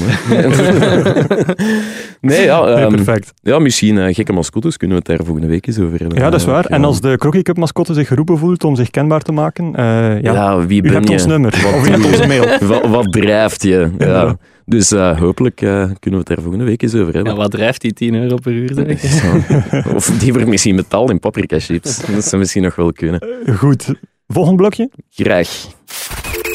nee, ja,
Nee,
ehm,
perfect.
ja misschien eh, gekke mascottes kunnen we het daar volgende week eens over hebben.
Ja, dat is waar.
eigenlijk,
En
ja.
als de Crocky Cup mascotte zich geroepen voelt om zich kenbaar te maken, eh, ja,
Ja, wie
u
ben
hebt
je?
ons nummer.
Wat
of u
doe
hebt
je?
onze mail.
Wat, wat drijft je? Ja.
Ja.
Dus eh, hopelijk eh, kunnen we het daar volgende week eens over hebben.
Ja, wat drijft die 10 euro per uur? Zeg.
Zo. Of die wordt misschien betaald in paprika chips. Dat zou misschien nog wel kunnen.
Goed. Volgend blokje?
Graag.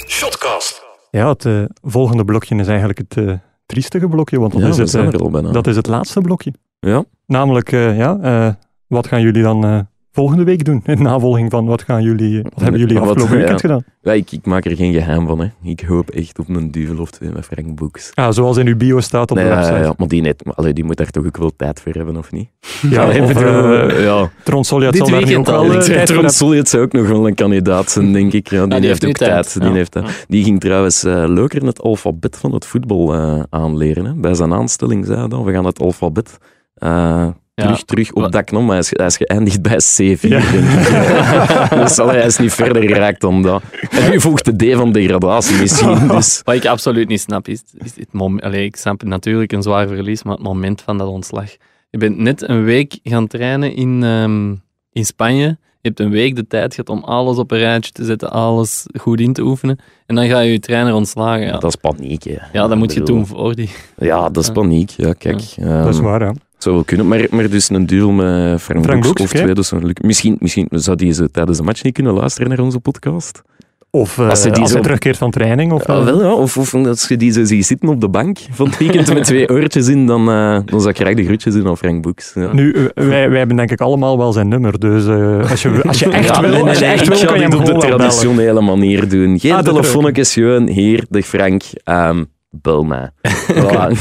Shotcast.
Ja, het eh, volgende blokje is eigenlijk het eh triestige blokje, want dat
Ja,
is
we
het...
zijn
eh,
er al bijna.
Dat is het laatste blokje.
Ja.
Namelijk, eh, ja, eh, wat gaan jullie dan eh, volgende week doen? In navolging van wat, gaan jullie, eh, wat hebben jullie
Wat,
afgelopen
ja.
weekend gedaan?
Ja, ik, ik maak er geen geheim van. Hè. Ik hoop echt op een duvel of twee met Frank Boeks.
Ah, zoals in uw bio staat op
Nee,
de
ja,
website.
ja, maar die, net, maar, allee, die moet daar toch ook wel tijd voor hebben, of niet?
Ja,
Allee,
of,
bedoel,
eh,
ja.
Trond Solliat
dit
zal daar nu ook
weekend al,
wel eh,
ik zeg
tijd voor
Trond
hebben.
Solliet zou ook nog wel een kandidaat zijn, denk ik. Ja, die,
Ah, die
heeft
heeft
ook
nu tijd.
tijd. Die,
Ja.
heeft tijd. die ging trouwens eh leuker het alfabet van het voetbal eh, aanleren. Hè. Bij zijn aanstelling zei hij dan, we gaan het alfabet... eh,
Ja.
Terug, terug op
Wat-
dat knop, maar hij is, hij is geëindigd bij C4.
Ja.
denk ik. dus allee, hij is niet verder geraakt dan dat. En nu volgt de D van degradatie misschien. Dus.
Wat ik absoluut niet snap, is, is dit moment... Allee, ik snap natuurlijk een zwaar verlies, maar het moment van dat ontslag. Je bent net een week gaan trainen in, ehm, in Spanje. Je hebt een week de tijd gehad om alles op een rijtje te zetten, alles goed in te oefenen. En dan ga je je trainer ontslagen. Ja,
Dat is paniek. Hè.
ja dat moet je
Bedoel,
doen voor die.
Ja, dat is
Ja.
paniek. Ja, kijk. ehm,
Dat is waar, ja.
het zou wel kunnen. Maar, maar dus een duel met Frank,
Frank
Boeks
Boeks,
of
oké.
twee, dat zou lukken. Misschien, misschien zou die ze tijdens de match niet kunnen luisteren naar onze podcast.
Of eh,
Als
als
ze
hij
die zo-
terugkeert van training. Of,
Ah, wel, ja. Of, of als je die zo ziet zitten op de bank van het weekend met twee oortjes in, dan, eh, dan zou ik graag de groetjes doen aan Frank Boeks. Ja.
Nu, eh, wij, wij hebben denk ik allemaal wel zijn nummer. Dus eh, als, je, als je echt
Ja,
wil,
nee, nee,
als je
nee,
echt
ik
wil
ga
kan je
dit
hem
op de
gewoon wel bellen.
traditionele manier doen. Geen
Ah, dat
telefoonnetjes, gewoon hier, de Frank, ehm, bel mij. Voilà.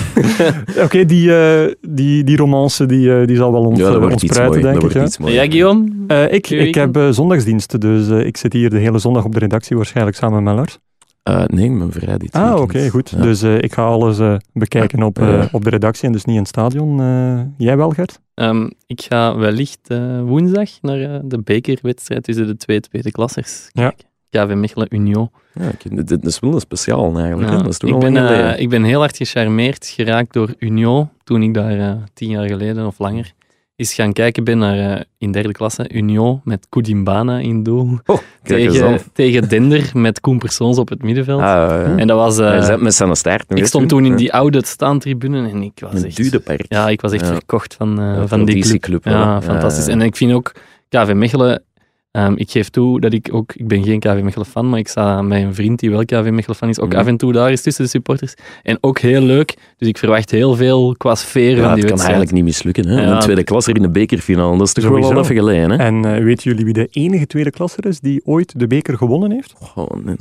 Oké, die, eh, die, die romance die, eh, die zal wel ont,
Ja, dat wordt iets
ontspruiten,
moois.
denk
Dat
ik.
wordt
ja.
iets moois.
Ja, Guillaume?
Eh, ik,
Je
ik heb eh zondagsdiensten, dus eh, ik zit hier de hele zondag op de redactie, waarschijnlijk samen met Lars.
Eh, nee, ik ben vrij dit
Ah, oké,
weekend.
goed.
Ja.
Dus eh, ik ga alles eh, bekijken op, eh,
Ja.
op de redactie en dus niet in het stadion. Eh, jij wel, Gert?
Ehm, ik ga wellicht eh, woensdag naar eh, de bekerwedstrijd tussen de twee tweede klassers
Ja.
kijken. KV Mechelen Union.
Ja, ik- dit, dit is wel een speciaal eigenlijk. hè.
Ja,
Dat is toch
ik,
al
ben,
lang
eh,
geleden.
ik ben heel hard gecharmeerd geraakt door Union toen ik daar eh, tien jaar geleden of langer eens gaan kijken ben naar eh, in derde klasse Union met Koudimbana in doel.
Oh, kijk eens aan.
Tegen, tegen Dender met Koen Persoons op het middenveld.
Ah,
Hm?
ja.
En dat was... eh,
Hij zet met zijn staart.
ik
nog eens
stond
in.
toen in
Ja.
die oude staantribune en ik was
Een
echt...
dudepark.
Ja, ik was echt
Ja.
verkocht van, eh,
Ja,
van die club.
hè.
Ja, fantastisch.
Eh,
En ik vind ook KV Mechelen. ehm, ik geef toe dat ik ook, ik ben geen KV Mechelen fan, maar ik sta met een vriend die wel KV Mechelen fan is, ook
Mhm.
af en toe daar is tussen de supporters. En ook heel leuk, dus ik verwacht heel veel qua sfeer
ja,
van
het
die
kan
wedstrijd.
eigenlijk niet mislukken. Hè?
Ja.
Een tweede klasser in de bekerfinale, dat is toch wel
Sowieso.
al even geleden. Hè?
En eh, weten jullie wie de enige tweede klasser is die ooit de beker gewonnen heeft?
Goh, nee,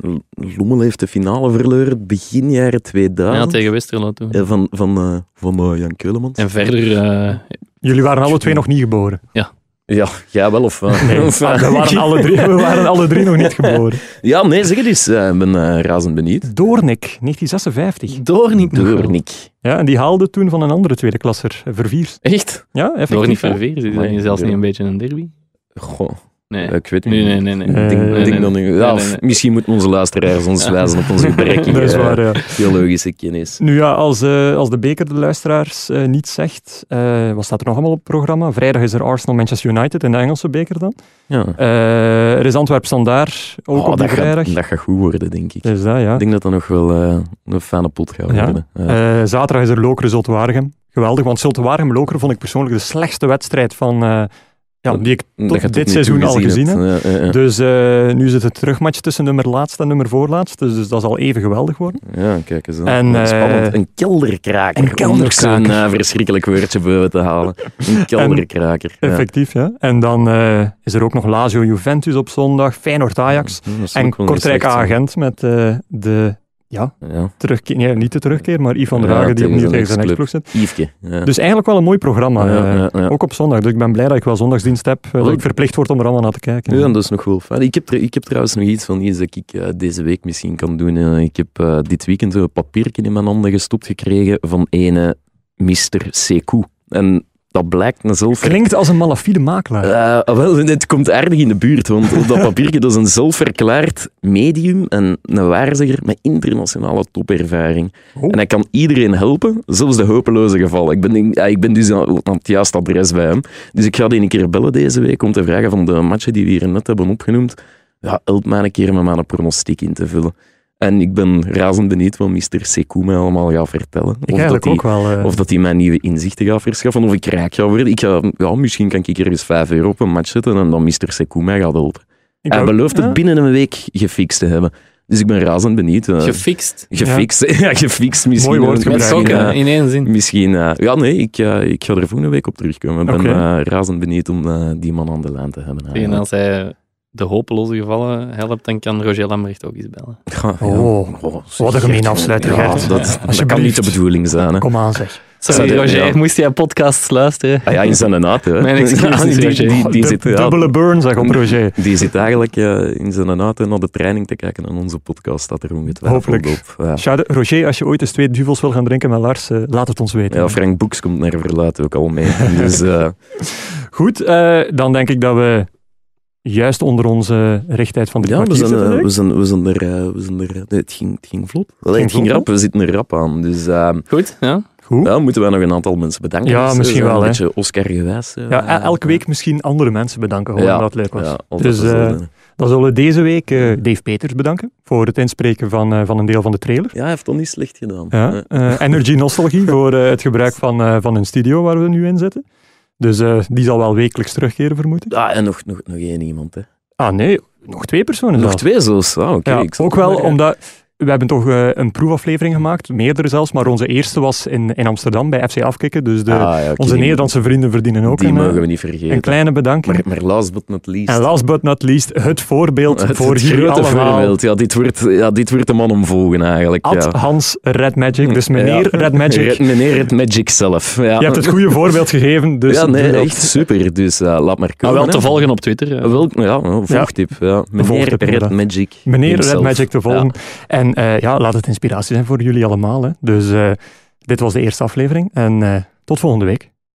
Lommel heeft de finale verloren begin jaren
Ja,
2000.
tegen Westerlo toen.
Eh, van van, eh, van eh, Jan Keulemans.
En verder, eh,
Jullie waren alle twee nog niet geboren.
Ja, jij wel of... eh,
Nee,
of,
Ah,
eh,
we, waren alle drie, we waren alle drie nog niet geboren.
Ja, nee, zeg het eens. Eh, Ik ben eh, razend benieuwd.
Doornik, 1956.
Doornik nog wel.
Doornik.
Ja, en die haalde toen van een andere tweede klasser, eh, Verviers.
Echt?
Ja, effectief.
Doornik
hè?
verveer, is dat
Amai,
niet zelfs niet
Doornik.
een beetje een derby?
Goh,
Nee.
ik weet niet.
Nee, nee, nee. nee.
Eh,
Ik denk,
nee,
ik denk
nee.
dat nu-
Nee,
ja,
nee,
of
nee.
Misschien moeten onze luisteraars ons wijzen op onze berekening.
Dat is waar, ja.
Theologische kennis.
Nu ja, als, eh, als de beker de luisteraars eh, niet zegt, eh, wat staat er nog allemaal op het programma? Vrijdag is er Arsenal-Manchester United in de Engelse beker dan.
Ja.
Eh, er is Antwerp-Standaard, ook
Oh,
op die
dat, gaat,
vrijdag.
dat gaat goed worden, denk ik.
Is dat, ja.
Ik denk dat dat nog wel eh, een fijne pot gaat
Ja?
worden. Ja.
Eh, zaterdag is er Lokeren-Zult-Waregem. Geweldig, want Zult-Waregem-Lokeren vond ik persoonlijk de slechtste wedstrijd van, eh, ja, die ik
Dat
tot
je tot
dit
nu
seizoen
toe
al gezien
hebt. Ja, ja, ja.
Dus eh, nu zit het terugmatch tussen nummer laatst en nummer voorlaatst. Dus, dus dat zal even geweldig worden.
Ja, kijk eens. aan.
En,
Ja, Spannend.
eh,
Een kelderkraker.
een kelderkraker.
Om nog zo'n eh, verschrikkelijk woordje boven te halen. Een kelderkraker. Ja.
Effectief, ja. En dan eh, is er ook nog Lazio-Juventus op zondag, Feyenoord-Ajax
Ja, dat is
en
ook wel niet slecht, zo.
Kortrijk-Agent met eh, de
Ja.
terugkeer... Nee, niet de terugkeer, maar Yves van der
Ja,
Hagen die
tegen
opnieuw
zijn
tegen zijn
ex-club.
ex-ploeg zit.
Yveske. Ja.
Dus eigenlijk wel een mooi programma.
Ja,
eh,
ja, ja.
Ook op zondag. Dus ik ben blij dat ik wel zondagsdienst heb. eh, dat
Ook.
ik verplicht word om er allemaal naar te kijken.
Ja, dat is nog wel fijn. Ik heb, tr- ik heb trouwens nog iets van iets dat ik eh, deze week misschien kan doen. Eh, ik heb eh, dit weekend een papiertje in mijn handen gestopt gekregen van ene Mr. Sekou. En dat blijkt een zelfver...
Klinkt als een malafide makelaar.
Eh, ah, wel, het komt aardig in de buurt, want op dat papiertje dat is een zelfverklaard medium en een waarzegger met internationale topervaring.
Oh.
En hij kan iedereen helpen, zelfs de hopeloze gevallen. Ik ben, ja, ik ben dus aan aan het juiste adres bij hem. Dus ik ga die een keer bellen deze week om te vragen van de matchen die we hier net hebben opgenoemd. Ja, help mij een keer met mijn pronostiek in te vullen. En ik ben razend benieuwd wat Mr. Sekou mij allemaal gaat vertellen.
ik eigenlijk
hij-
ook wel. eh,
of dat hij mij nieuwe inzichten gaat verschaffen, of ik rijk ga worden. Ik ga, ja, misschien kan ik ergens 5 euro op een match zetten en dan Mr. Sekou mij gaat helpen.
ik
hij
ook-
belooft
ja.
het binnen een week gefixt te hebben. Dus ik ben razend benieuwd. eh,
Gefixt.
gefixt, ja. gefixt misschien.
Mooi woord
Met
gebruikt,
misschien,
sokken,
eh,
in één zin.
Misschien, eh, ja nee, ik, eh, ik ga er volgende week op terugkomen. Ik
Oké.
ben eh, razend benieuwd om eh, die man aan de lijn te hebben. eh.
En
eigenlijk.
als hij de hopeloze gevallen helpt, dan kan Roger Lambrecht ook eens bellen.
Ja, ja.
Oh,
zeg,
wat een
Gert.
gemeen afsluiter,
Ja,
Gert.
dat, dat kan
Alsjeblieft.
niet de bedoeling zijn. Hè.
Kom aan, zeg.
Sorry,
Zou-
Roger,
ja.
moest jij podcasts luisteren?
Ah ja, in zijn auto. Hè.
Mijn excuses,
Die- die,
Roger.
die, die
Du-
zit, ja,
Dubbele burn, zeg op Roger.
Die zit eigenlijk eh, in zijn auto naar de training te kijken en onze podcast staat er ongetwijfeld
Hopelijk.
op. Ja.
Shout- Roger, als je ooit eens twee duvels wil gaan drinken met Lars, eh, laat het ons weten.
Ja, Frank Boeks komt naar verluid ook al mee. Dus eh,
Goed, eh, dan denk ik dat we juist onder onze richttijd van dit
ja, we
kwartier
zijn,
zitten.
eh,
denk
we
ik.
zijn, we zijn er... eh, we zijn er eh, nee, het, ging, het ging vlot. Allee,
ging
het ging
vlot,
rap, we zitten er rap aan. Dus eh,
Goed, ja.
Goed.
ja, moeten wij nog een aantal mensen bedanken.
Ja,
Dus, eh,
misschien
zo
wel,
Een
hè.
beetje Oscar-gewijs. eh,
Ja, el- elke week misschien andere mensen bedanken, gewoon
Ja,
omdat het leuk was.
Ja, altijd
Dus,
dezelfde.
Dan zullen we deze week eh, Dave Peters bedanken voor het inspreken van, eh, van een deel van de trailer.
ja, hij heeft dat niet slecht gedaan.
Ja,
Eh,
eh, Energy Nostalgie voor eh, het gebruik van, eh, van hun studio waar we nu in zitten. Dus eh, die zal wel wekelijks terugkeren, vermoed ik.
Ah, en nog, nog, nog één iemand. Hè.
Ah nee, nog twee personen
Nog
zelfs.
twee zo's. Ah, oké,
Ja,
ik zat
ook wel
maar, eh,
omdat we hebben toch eh, een proefaflevering gemaakt, meerdere zelfs, maar onze eerste was in, in Amsterdam bij FC Afkikken. Dus de,
Ah, ja, oké,
onze
die-
Nederlandse vrienden verdienen ook
Die
een, eh,
mogen we niet
een
vergeten.
kleine bedanking.
Maar, maar last but not least.
en last but not least, het voorbeeld
Het-
voor
het
jullie
grote
allemaal.
voorbeeld. Ja, dit wordt, ja, dit wordt de man omvolgen eigenlijk.
Ad
ja.
Hans Red Magic, dus meneer
Ja.
Red Magic.
Red- meneer Red Magic zelf. Ja.
Je hebt het goede voorbeeld gegeven, dus
ja, nee,
doe dat.
echt super. Dus eh, laat maar
Maar
Ah,
komen.
Ah, wel te
hè.
volgen op Twitter. eh.
Wel, ja, een volgtip. Ja. Meneer
volgtip,
Red
inderdaad.
Magic.
meneer Red
himself.
Magic te volgen. En En eh, ja, laat het inspiratie zijn voor jullie allemaal. Hè. Dus eh, dit was de eerste aflevering en eh, tot volgende week.